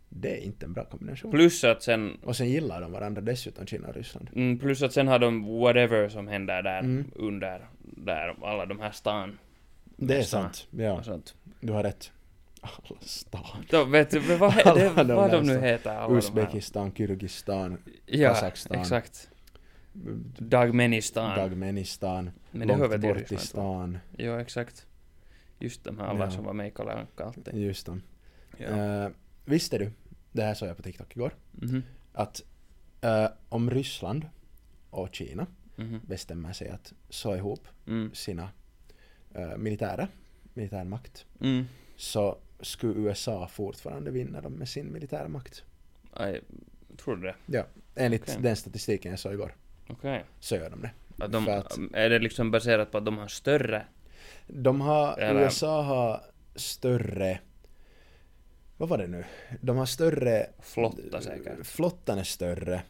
Speaker 2: Det är inte en bra kombination.
Speaker 3: Plus att sen
Speaker 2: Och sen gillar de varandra dessutom, Kina och Ryssland.
Speaker 3: Mm, plus att sen har de whatever som händer där
Speaker 2: Mm.
Speaker 3: under, där alla de här stan
Speaker 2: Det är
Speaker 3: Nästan. Alltså.
Speaker 2: sant. Ja,
Speaker 3: och sånt.
Speaker 2: du har rätt. Alla stan.
Speaker 3: Då vet du, men vad, he-
Speaker 2: Alla
Speaker 3: det,
Speaker 2: de
Speaker 3: vad
Speaker 2: där
Speaker 3: de nu
Speaker 2: stan.
Speaker 3: heter? Alla
Speaker 2: Uzbekistan, Kyrgyzstan,
Speaker 3: de här. Ja,
Speaker 2: Kazakstan.
Speaker 3: exakt. Dagmenistan.
Speaker 2: Dagmenistan,
Speaker 3: men det hör väl
Speaker 2: långt
Speaker 3: till
Speaker 2: bort i
Speaker 3: Ryssland?
Speaker 2: stan.
Speaker 3: tror jag. Ja, exakt. Just de här alla
Speaker 2: Ja.
Speaker 3: som var med i Kalle Anka alltid.
Speaker 2: Just det.
Speaker 3: Ja.
Speaker 2: Eh, visste du, det här såg jag på TikTok igår,
Speaker 3: Mhm,
Speaker 2: att eh, om Ryssland och Kina
Speaker 3: mhm,
Speaker 2: bestämmer sig att slå ihop
Speaker 3: mm,
Speaker 2: sina eh, militära, militärmakt,
Speaker 3: mm.
Speaker 2: så skulle USA fortfarande vinna dem med sin militärmakt.
Speaker 3: Aj, tror du det?
Speaker 2: Enligt
Speaker 3: Okej.
Speaker 2: den statistiken jag såg igår,
Speaker 3: Okej.
Speaker 2: så gör de det.
Speaker 3: Att de,
Speaker 2: För att-
Speaker 3: Är det liksom baserat på att de har större?
Speaker 2: De har,
Speaker 3: Eller-
Speaker 2: USA har större, vad var det nu? De har större
Speaker 3: Flotta säkert.
Speaker 2: Flottan är större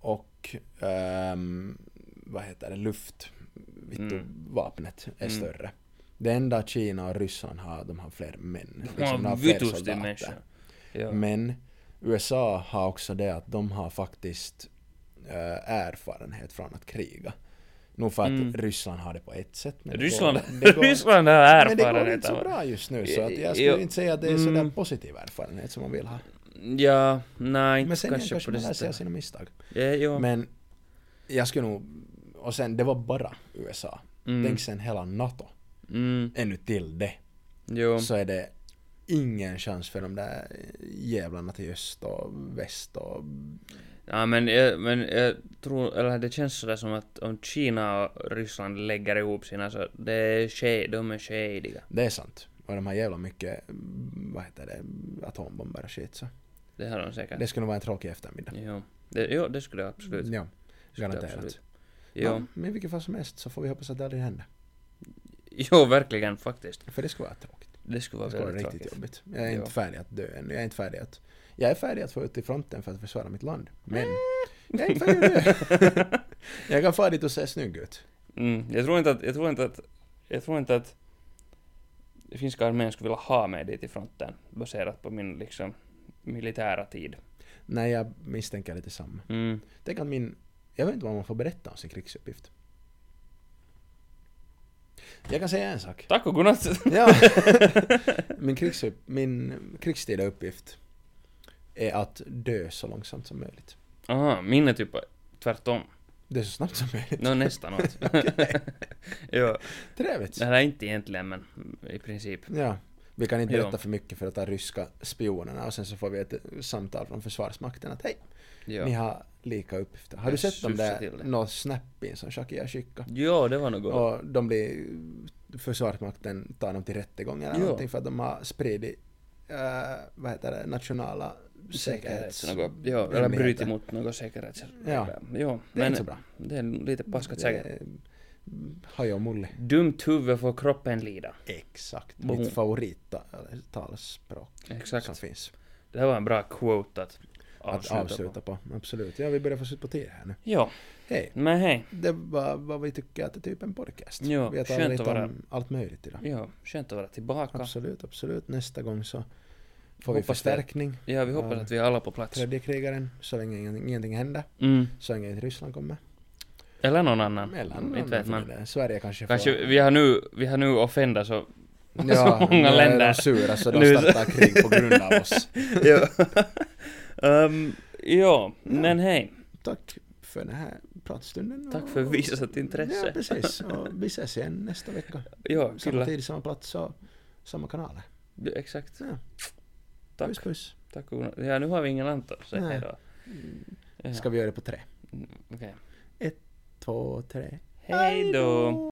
Speaker 2: och ehm, vad heter det, luft, vittu
Speaker 3: Mm.
Speaker 2: vapnet är
Speaker 3: Mm.
Speaker 2: större. Det enda Kina och Ryssland har, de har fler män.
Speaker 3: De
Speaker 2: liksom,
Speaker 3: har
Speaker 2: fler
Speaker 3: vitusti
Speaker 2: soldater.
Speaker 3: människor. Ja.
Speaker 2: Men USA har också det att de har faktiskt eh, erfarenhet från att kriga. Nog för att
Speaker 3: Mm.
Speaker 2: Ryssland har det på ett sätt. Men
Speaker 3: Ryssland,
Speaker 2: det går, det går,
Speaker 3: Ryssland har
Speaker 2: men det går inte
Speaker 3: erfarenhet
Speaker 2: så
Speaker 3: av Eh,
Speaker 2: bra just nu så att jag skulle
Speaker 3: Jo.
Speaker 2: inte säga att det är
Speaker 3: Mm.
Speaker 2: sådär positiv erfarenhet som man vill ha.
Speaker 3: Ja,
Speaker 2: Men
Speaker 3: nej, inte
Speaker 2: sen kanske,
Speaker 3: kanske
Speaker 2: kanske
Speaker 3: på det
Speaker 2: man lär sig av
Speaker 3: sättet.
Speaker 2: sina misstag.
Speaker 3: Ja, jo.
Speaker 2: Men jag skulle nog... Och sen, det var bara USA.
Speaker 3: Mm.
Speaker 2: Tänk sen hela NATO.
Speaker 3: Mm,
Speaker 2: Ännu till det.
Speaker 3: jo.
Speaker 2: Så är det ingen chans för de där jävlarna till öst och väst och...
Speaker 3: Ja, men, jag, men jag tror, eller det känns sådär som att om Kina och Ryssland lägger ihop sina så det är shade, de är shadiga.
Speaker 2: Det är sant. Och de har jävla mycket, vad heter det, atombomber och shit så.
Speaker 3: Det har de säkert.
Speaker 2: Det skulle nog vara en tråkig eftermiddag.
Speaker 3: Jo. Det, jo, det skulle jag absolut.
Speaker 2: Ja,
Speaker 3: skulle jag
Speaker 2: garanterat.
Speaker 3: absolut.
Speaker 2: Ja,
Speaker 3: Jo.
Speaker 2: men i vilket fall som helst så får vi hoppas att det aldrig händer.
Speaker 3: jo, verkligen faktiskt.
Speaker 2: För det skulle vara tråkigt.
Speaker 3: Det skulle
Speaker 2: Det
Speaker 3: vara
Speaker 2: skulle vara
Speaker 3: väldigt
Speaker 2: riktigt
Speaker 3: tråkigt.
Speaker 2: jobbigt. Jag är
Speaker 3: Ja.
Speaker 2: inte färdig att dö ännu. Jag är inte färdig att... Jag är färdig att få ut i fronten för att försvara mitt land. Men jag är inte färdig att dö. jag kan fara dit och se snygg ut.
Speaker 3: Mm, jag tror inte att, jag tror inte att, jag tror inte att finska armén skulle vilja ha mig dit i fronten baserat på min liksom militära tid.
Speaker 2: Nej, jag misstänker lite samma.
Speaker 3: Mm.
Speaker 2: Tänk att min... Jag vet inte vad man får berätta om sin krigsuppgift. Jag kan säga en sak.
Speaker 3: Tack och godnatt!
Speaker 2: Ja. Min, krigsupp, min krigstida uppgift är att dö så långsamt som möjligt.
Speaker 3: Aha, min är typ tvärtom.
Speaker 2: Dö så snabbt som möjligt.
Speaker 3: Nå nästan åt. jo,
Speaker 2: Trevligt.
Speaker 3: det här är inte egentligen men i princip.
Speaker 2: Ja. Vi kan inte
Speaker 3: Ja.
Speaker 2: berätta för mycket för att de ryska spionerna och sen så får vi ett samtal från försvarsmakten att hej, ni
Speaker 3: Jo.
Speaker 2: har lika uppgifter. Har du
Speaker 3: Jag
Speaker 2: sett de
Speaker 3: syfsar till
Speaker 2: där
Speaker 3: det.
Speaker 2: några snappin som Shakia skickade?
Speaker 3: jo, det var något. gott.
Speaker 2: Och de blir, Försvarsmakten tar dem till rättegång eller
Speaker 3: Ja.
Speaker 2: någonting för att de har spridit, äh, vad heter det, nationala säkerhets...
Speaker 3: Säkerhets... Något, jo, eller
Speaker 2: hemligheter.
Speaker 3: bryter mot något säkerhetsregler.
Speaker 2: Ja.
Speaker 3: Jo,
Speaker 2: Det är
Speaker 3: men
Speaker 2: inte så bra.
Speaker 3: det är lite paskat säkert.
Speaker 2: Hajo och Mulli.
Speaker 3: Dumt huvud får kroppen lida.
Speaker 2: Exakt.
Speaker 3: Boom.
Speaker 2: Mitt favorittalspråk som
Speaker 3: Exakt.
Speaker 2: finns.
Speaker 3: Det här var en bra quote att
Speaker 2: Att
Speaker 3: avsluta,
Speaker 2: avsluta
Speaker 3: på.
Speaker 2: på. Absolut. Ja, vi börjar få slut på tid här nu.
Speaker 3: Jo,
Speaker 2: Hej.
Speaker 3: men hej.
Speaker 2: Det var vad vi tycker att det är typ en podcast.
Speaker 3: Ja,
Speaker 2: vi har
Speaker 3: skönt
Speaker 2: talat
Speaker 3: att
Speaker 2: lite
Speaker 3: vara-
Speaker 2: om allt möjligt idag.
Speaker 3: Jo, skönt att vara tillbaka.
Speaker 2: Absolut, absolut. Nästa gång så får vi
Speaker 3: Hoppas det.
Speaker 2: förstärkning.
Speaker 3: Ja, vi hoppas
Speaker 2: Ja.
Speaker 3: att vi är alla på plats.
Speaker 2: Tredje krigaren, så länge ingen- ingenting händer.
Speaker 3: Mm.
Speaker 2: Så länge inte Ryssland kommer.
Speaker 3: Eller någon annan.
Speaker 2: Eller
Speaker 3: inte vet man.
Speaker 2: Det. Sverige kanske,
Speaker 3: Kanske
Speaker 2: får...
Speaker 3: vi har nu, vi har nu offendat så
Speaker 2: ja,
Speaker 3: så många
Speaker 2: nu är
Speaker 3: länder.
Speaker 2: de sura så de
Speaker 3: Nu så-
Speaker 2: startar krig på grund av oss.
Speaker 3: jo. um, jo, men hej.
Speaker 2: Tack för den här pratstunden.
Speaker 3: Tack för
Speaker 2: och-
Speaker 3: visat intresse.
Speaker 2: Ja, precis. Och vi ses igen nästa vecka.
Speaker 3: Jo,
Speaker 2: Samma
Speaker 3: kyllä.
Speaker 2: tid, samma plats och samma kanaler.
Speaker 3: Exakt.
Speaker 2: Ja.
Speaker 3: Tack.
Speaker 2: Puss, puss.
Speaker 3: Tack Gunnar. Ja, nu har vi ingen Anton, så
Speaker 2: Nej.
Speaker 3: hej då. Ja.
Speaker 2: Ska vi göra det på tre?
Speaker 3: Mm, Okej.
Speaker 2: Två, tre.
Speaker 3: Hej då.